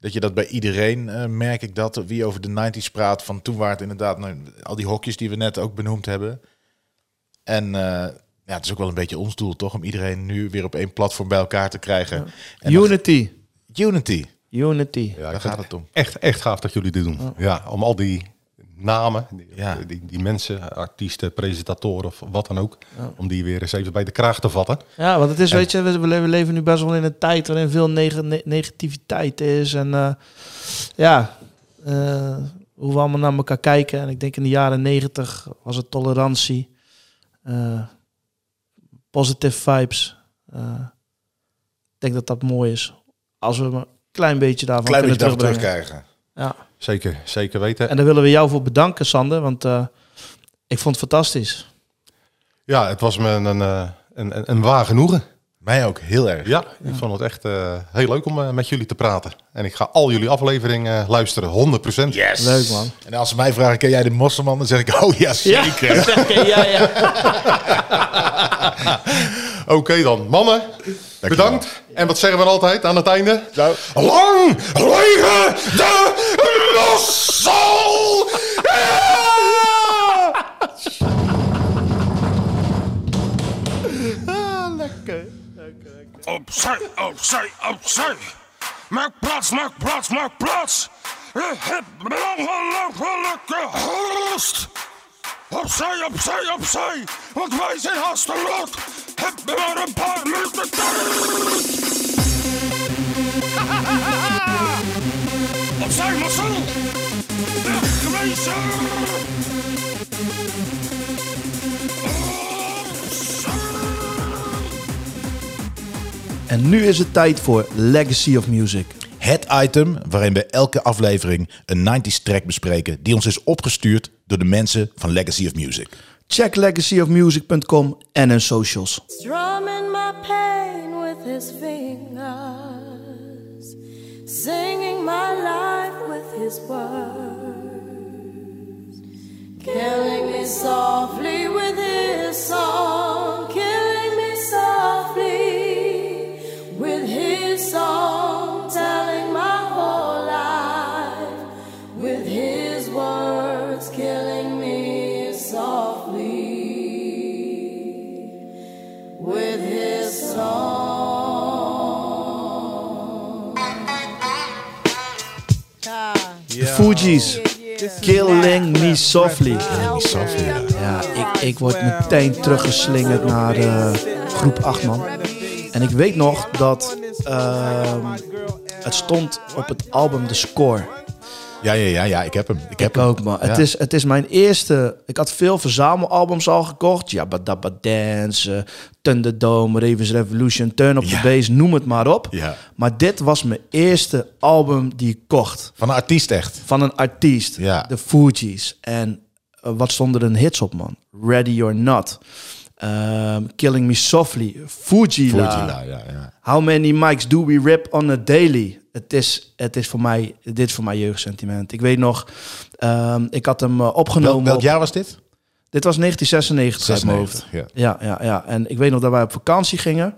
B: Dat je dat bij iedereen eh, merk ik dat. Wie over de 90s praat. Van toen waren het inderdaad nou, al die hokjes die we net ook benoemd hebben. En eh, ja, het is ook wel een beetje ons doel toch? Om iedereen nu weer op één platform bij elkaar te krijgen. En dan-
C: Unity.
B: Unity.
C: Unity.
E: Ja,
B: Daar
E: ik
B: gaat
E: vind
B: het om.
E: Echt, echt gaaf dat jullie dit doen. Ja, om al die namen, die,
B: Ja.
E: die, die mensen, artiesten, presentatoren of wat dan ook, om die weer eens even bij de kraag te vatten.
C: Ja, want het is, weet je, we, we le- we leven nu best wel in een tijd waarin veel neg- ne- negativiteit is. En eh, ja, eh, hoe we allemaal naar elkaar kijken. En ik denk in de jaren negentig was het tolerantie, eh, positive vibes. Eh, ik denk dat dat mooi is. Als we maar een klein beetje daarvan
B: Klein beetje
C: kunnen
B: daarvoor
C: terugbrengen.
B: terugkrijgen.
E: Zeker, zeker weten.
C: En daar willen we jou voor bedanken, Sander. Want eh, ik vond het fantastisch.
E: ja, het was me een, een, eh, een, een, een waar genoegen.
B: Mij ook heel erg.
E: Ja, ik vond het echt eh, heel leuk om eh, met jullie te praten. En ik ga al jullie afleveringen eh, luisteren, 100%.
B: Yes.
C: Leuk, man.
B: En als ze mij vragen, ken jij de mosselman? Dan zeg ik, oh ja, zeker.
C: Zeker, ja, ja.
E: Oké dan, mannen, bedankt. En wat zeggen we altijd aan het einde?
B: Nou.
E: Lang lege de mossel! Ja!
D: Opzij, opzij, opzij. Maak plaats, maak plaats, maak plaats. Je hebt belangrijke haast. Opzij, opzij, opzij. Want wij zijn haast te laat. Heb maar een paar minuten tijd. opzij, Marcel. Wegwezen. Opzij.
A: En nu is het tijd voor Legacy of Music.
B: Het item waarin we elke aflevering een 90s track bespreken die ons is opgestuurd door de mensen van Legacy of Music.
A: Check legacyofmusic.com en hun socials.
G: strumming my pain with his fingers, singing my life with his words, killing me softly with his song, killing me softly with his song, telling my whole life with his words, killing me softly with his song.
C: Fuji's. Killing Me Softly.
A: Ja, ik, ik word meteen teruggeslingerd naar eh, groep 8 man.
C: En ik weet nog dat ehm, het stond op het album The Score.
B: Ja, ja, ja, ja ik heb hem. Ik heb
C: Ik ook, man. Het,
B: Ja.
C: is, het is mijn eerste... Ik had veel verzamelalbums al gekocht. Jabba Dabba Dance, eh, Thunderdome, Ravens Revolution, Turn Up
B: Ja.
C: The Bass, noem het maar op.
B: Ja.
C: Maar dit was mijn eerste album die ik kocht.
B: Van een artiest echt.
C: Van een artiest,
B: Ja.
C: de Fugees. En eh, wat stonden er hits op, man? Ready or Not, ehm, Killing Me Softly, Fujila.
B: Fujila, ja, ja.
C: How many mics do we rip on a daily? Het is, het is voor mij, dit is voor mij jeugdsentiment. Ik weet nog, ehm, ik had hem eh,
B: Wel,
C: opgenomen.
B: welk
C: op-
B: jaar was dit?
C: Dit was 1996 uit mijn hoofd.
B: 96, ja.
C: Ja, ja, ja. En ik weet nog dat wij op vakantie gingen.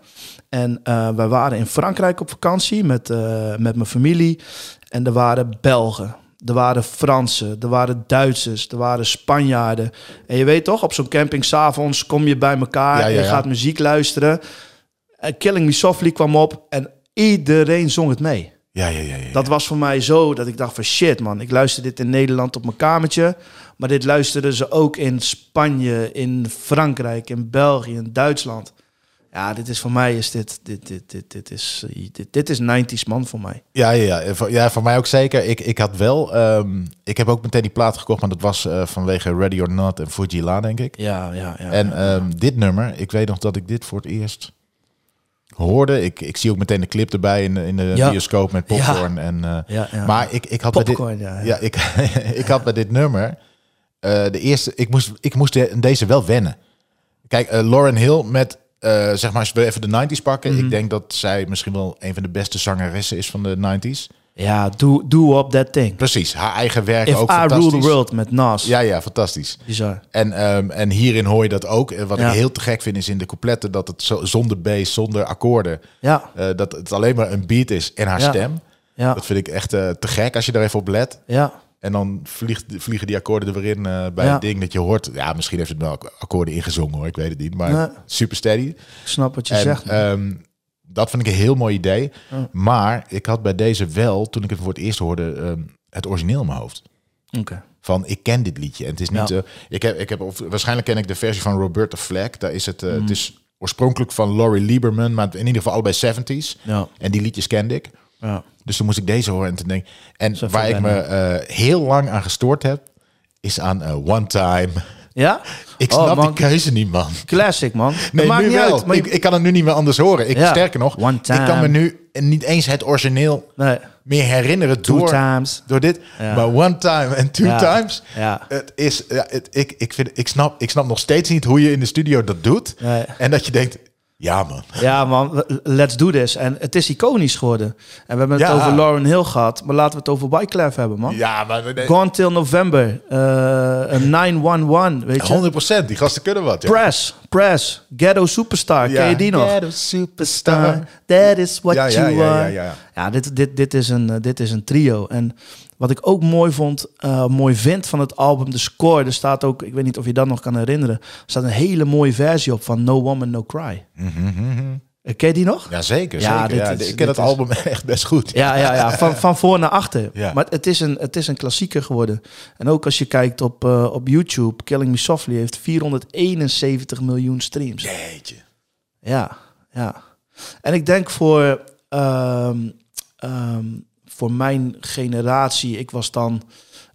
C: En eh, wij waren in Frankrijk op vakantie met, eh, met mijn familie. En er waren Belgen, er waren Fransen, er waren Duitsers, er waren Spanjaarden. En je weet toch, op zo'n camping s'avonds kom je bij elkaar
B: Ja, ja,
C: en je
B: ja.
C: gaat muziek luisteren. En Killing Me Softly kwam op en iedereen zong het mee.
B: Ja, ja, ja. ja, ja.
C: Dat was voor mij zo dat ik dacht van shit man, ik luister dit in Nederland op mijn kamertje. Maar dit luisterden ze ook in Spanje, in Frankrijk, in België, in Duitsland. Ja, dit is voor mij is dit, dit, dit, dit, dit is, dit, dit is 90s man voor mij.
B: Ja, ja, ja. Voor, ja, voor mij ook zeker. Ik, ik had wel... ehm, ik heb ook meteen die plaat gekocht, maar dat was eh, vanwege Ready or Not en Fujila, denk ik.
C: Ja, ja, ja.
B: En ehm, dit nummer, ik weet nog dat ik dit voor het eerst hoorde. Ik, ik zie ook meteen de clip erbij in de, in de
C: Ja.
B: bioscoop met popcorn. En, eh,
C: Ja, ja.
B: Maar ik, ik had
C: Popcorn,
B: bij dit,
C: ja,
B: ja,
C: ja.
B: ik, ik had bij dit nummer eh, de eerste. Ik moest, ik moest de- deze wel wennen. Kijk, eh, Lauren Hill met eh, zeg maar als we even de 90s pakken.
C: Mhm.
B: Ik denk dat zij misschien wel een van de beste zangeressen is van de 90s.
C: Ja, do, do up that thing.
B: Precies, haar eigen werk
C: If
B: ook
C: I
B: fantastisch.
C: Rule the World met Nas.
B: Ja, ja, fantastisch.
C: Bizar.
B: En, ehm, en hierin hoor je dat ook. En Wat
C: Ja.
B: ik heel te gek vind is in de coupletten dat het zo, zonder bass, zonder akkoorden,
C: Ja,
B: eh, dat het alleen maar een beat is en haar
C: Ja.
B: stem.
C: ja,
B: Dat vind ik echt eh, te gek als je daar even op let.
C: ja.
B: En dan vliegt, vliegen die akkoorden er weer in eh, bij
C: Ja.
B: het ding dat je hoort. Ja, misschien heeft het wel ak- akkoorden ingezongen hoor, ik weet het niet. Maar
C: Nee.
B: super steady.
C: Ik snap wat je
B: En,
C: zegt.
B: ehm, dat vind ik een heel mooi idee. Maar ik had bij deze wel, toen ik het voor het eerst hoorde, ehm, het origineel in mijn hoofd.
C: Oké.
B: Van ik ken dit liedje. En het is niet.
C: Ja.
B: eh, ik heb, ik heb, of, waarschijnlijk ken ik de versie van Roberta Flack. Daar is het, eh,
C: Mm.
B: het is oorspronkelijk van Laurie Lieberman, maar in ieder geval allebei 70s.
C: Ja.
B: En die liedjes kende ik.
C: Ja.
B: Dus toen moest ik deze horen en toen denk En
C: Zo
B: waar ik me eh, heel lang aan gestoord heb, is aan eh, One Time.
C: ja?
B: Ik
C: Oh,
B: snap
C: man,
B: die keuze niet, man.
C: Classic, man.
B: Nee,
C: dat maakt
B: nu
C: niet
B: wel.
C: uit. Maar
B: ik, ik kan het nu niet meer anders horen. Ik,
C: Ja.
B: Sterker nog,
C: One
B: ik kan me
C: time.
B: nu niet eens het origineel
C: nee.
B: meer herinneren
C: Two
B: door,
C: times.
B: door dit.
C: Ja.
B: Maar One Time en Two
C: Ja.
B: Times,
C: Ja.
B: het is, ja, het, ik, ik, vind, ik, snap, ik snap nog steeds niet hoe je in de studio dat doet.
C: Nee.
B: En dat je denkt, ja man.
C: Ja, man, let's do this. En het is iconisch geworden. En we hebben het
B: Ja.
C: over Lauren Hill gehad, maar laten we het over Wyclef hebben, man.
B: Ja, maar nee,
C: Gone Till November, eh, een 911, weet
B: Oh.
C: je.
B: 100%. Die gasten kunnen wat. ja.
C: Press, Press, Ghetto Superstar,
B: Ja.
C: ken je die nog?
B: Ghetto Superstar.
C: that is what
B: Ja, ja,
C: you
B: ja, ja,
C: are.
B: ja.
C: dit, dit, dit, is een, eh, dit is een trio. En wat ik ook mooi vond, eh, mooi vind van het album, de score, er staat ook, ik weet niet of je dat nog kan herinneren, er staat een hele mooie versie op van No Woman, No Cry.
B: Mhm,
C: Eh, Ken je die nog?
B: Ja, zeker.
C: Ja,
B: zeker.
C: dit
B: ja,
C: is-
B: ik
C: dit
B: ken het
C: is-
B: album echt best goed.
C: Ja, ja, ja. Van, van voor naar achter.
B: Ja.
C: Maar het is, een, het is een klassieker geworden. En ook als je kijkt op, eh, op YouTube, Killing Me Softly heeft 471 miljoen streams.
B: Jeetje.
C: Ja, ja. En ik denk voor, ehm, ehm, voor mijn generatie, ik was dan.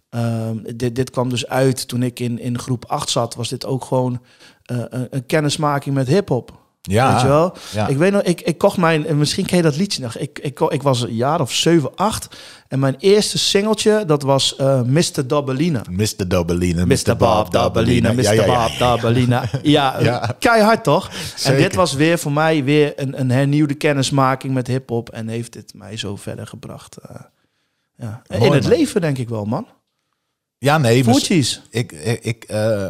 C: ehm, dit, dit kwam dus uit toen ik in, in groep 8 zat, was dit ook gewoon eh, een, een kennismaking met hip-hop.
B: Ja.
C: Weet je wel?
B: Ja.
C: Ik weet nog, ik, ik kocht mijn, en misschien ken je dat liedje nog. Ik, ik, ko- ik was een jaar of 7, 8 en mijn eerste singeltje, dat was eh Mr. Dabalina.
B: Mr. Dobbelina.
C: Mr. Bob Dabalina, Mr.
B: Ja, ja, ja.
C: Bob Dabalina. Ja,
B: Ja.
C: keihard toch? En
B: Zeker.
C: dit was weer voor mij weer een, een hernieuwde kennismaking met hip-hop. En heeft dit mij zo verder gebracht. eh, ja. En
B: Mooi,
C: in het
B: man.
C: leven denk ik wel, man.
B: Ja, nee. maar
C: Voetjes.
B: Ik, ik, ik, eh,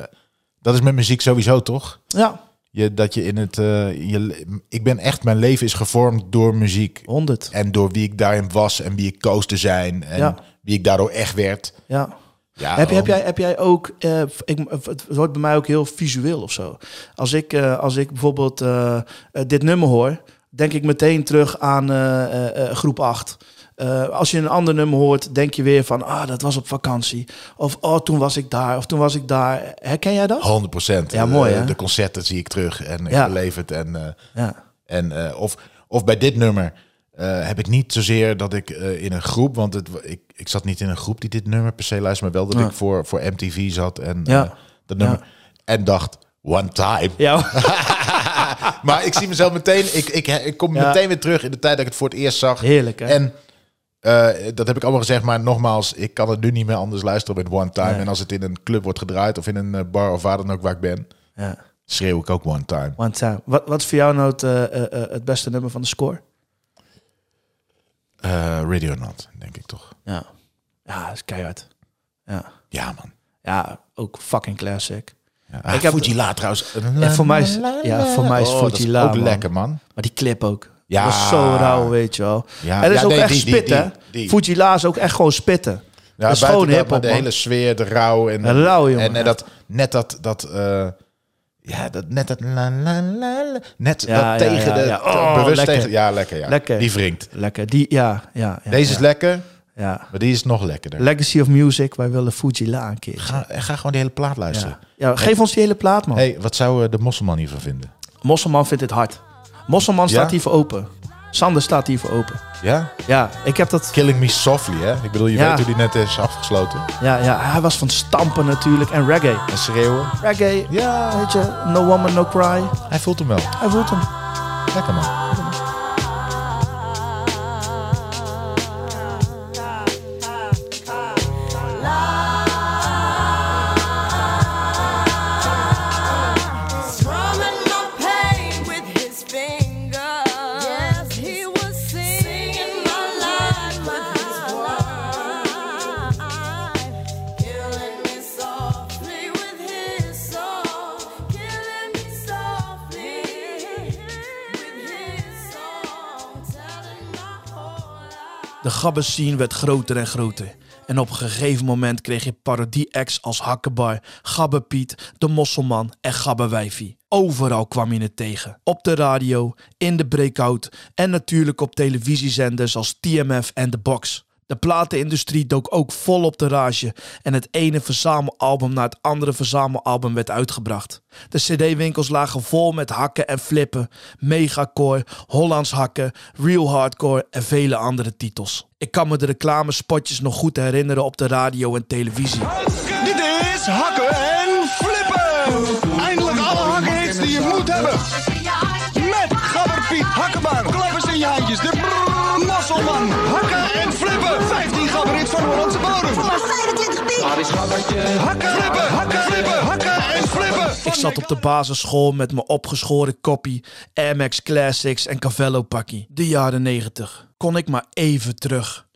B: dat is met muziek sowieso, toch?
C: Ja,
B: Je, dat je in het... eh, je, le- ik ben echt... Mijn leven is gevormd door muziek.
C: 100.
B: En door wie ik daarin was en wie ik koos te zijn. En
C: Ja.
B: wie ik daardoor echt werd.
C: Ja.
B: Ja,
C: heb, je- heb,
B: oh.
C: jij, heb jij ook, eh, ik, het wordt bij mij ook heel visueel of zo. Als ik, eh, als ik bijvoorbeeld eh, eh, dit nummer hoor, denk ik meteen terug aan eh, eh, eh, groep 8. Eh, als je een ander nummer hoort, denk je weer van, ah, dat was op vakantie. Of, oh, toen was ik daar, of toen was ik daar. Herken jij dat?
B: 100 procent. Eh,
C: Ja, mooi, hè?
B: De concerten zie ik terug en ik
C: Ja.
B: beleef het. En, eh,
C: Ja.
B: en, eh, of, of bij dit nummer eh, heb ik niet zozeer dat ik eh, in een groep... Want het, wa- ik, ik zat niet in een groep die dit nummer per se luisterde... maar wel dat
C: Ja.
B: ik voor, voor MTV zat en
C: Ja.
B: eh, dat nummer... En dacht, one time.
C: Ja,
B: Maar ik zie mezelf meteen... Ik, ik, ik kom
C: Ja.
B: meteen weer terug in de tijd dat ik het voor het eerst zag.
C: heerlijk hè?
B: En eh, dat heb ik allemaal gezegd, maar nogmaals, ik kan het nu niet meer anders luisteren met One Time.
C: Nee.
B: En als het in een club wordt gedraaid of in een eh, bar of waar dan ook waar ik ben,
C: ja.
B: schreeuw ik ook One Time.
C: One time. Wat, wat is voor jou nou het, eh, eh, eh, het beste nummer van de score?
B: Eh Radio Not, denk ik toch.
C: Ja. Ja, dat is keihard. Ja.
B: Ja, man.
C: Ja, ook fucking classic.
B: Ja. Ah,
C: Ik heb-
B: Fuji La trouwens.
C: En voor mij is, ja, voor mij is
B: Oh, dat is
C: Fuji La,
B: ook
C: man.
B: lekker, man.
C: Maar die clip ook.
B: Ja.
C: Ja. was zo rauw, weet je wel.
B: Ja.
C: En het is
B: Ja,
C: ook
B: nee,
C: echt
B: die- die-
C: spitten.
B: die- die.
C: Fuji La is ook echt gewoon spitten.
B: Ja,
C: dat is
B: buiten
C: gewoon
B: dat, maar
C: hip-hop,
B: de
C: man.
B: hele sfeer, de rouw. En,
C: De rouw, jongen,
B: En, eh,
C: ja.
B: dat, net dat... dat eh, ja, dat, net dat... La, la, la, la. net
C: Ja,
B: dat
C: ja,
B: tegen
C: ja,
B: de...
C: ja. Oh,
B: bewust
C: lekker.
B: tegen... Ja, lekker, ja.
C: Lekker.
B: Die wringt.
C: Lekker. Die, ja, ja. ja
B: Deze
C: ja,
B: is lekker,
C: ja.
B: maar die is nog lekkerder.
C: Legacy of Music, wij willen Fuji La een keer.
B: Ga, ga gewoon die hele plaat luisteren.
C: Ja. ja, geef ons die hele plaat, man.
B: hey, wat zou eh, de mosselman hiervan vinden?
C: Mosselman vindt dit hard. Mosselman
B: Ja?
C: staat hier voor open. Sander staat hier voor open.
B: Ja?
C: Ja, ik heb dat...
B: Killing Me Softly, hè? Ik bedoel, je
C: Ja.
B: weet hoe die net is afgesloten.
C: Ja, ja, hij was van stampen natuurlijk en reggae.
B: En schreeuwen.
C: Reggae,
B: Ja,
C: weet je, No Woman, No Cry.
B: hij voelt hem wel.
C: Hij voelt hem.
B: Lekker, man.
C: De gabbescene werd groter en groter. En op een gegeven moment kreeg je parodie-acts als Hakkebar, Gabbe Piet, De Mosselman en Gabbe Wijfie. Overal kwam je het tegen. Op de radio, in de breakout en natuurlijk op televisiezenders als TMF en The Box. De platenindustrie dook ook vol op de rage en het ene verzamelalbum na het andere verzamelalbum werd uitgebracht. De cd-winkels lagen vol met hakken en flippen, megacore, Hollands hakken, real hardcore en vele andere titels. Ik kan me de reclamespotjes nog goed herinneren op de radio en televisie.
A: Dit is hakken en flippen. Eindelijk alle hakkenhits die je moet hebben. Met Gabber Piet, Hakkenbar, klappers in je handjes, de brrrr, Mosselman. Hakken en flippen. 15 gabberhits van Hollandse bodem.
H: 25 piek.
A: Hakken, flippen, hakken, flippen, hakken en flippen.
C: Ik zat op de basisschool met mijn opgeschoren koppie, Air Max Classics en Cavello pakkie. De jaren 90. Kon ik maar even terug.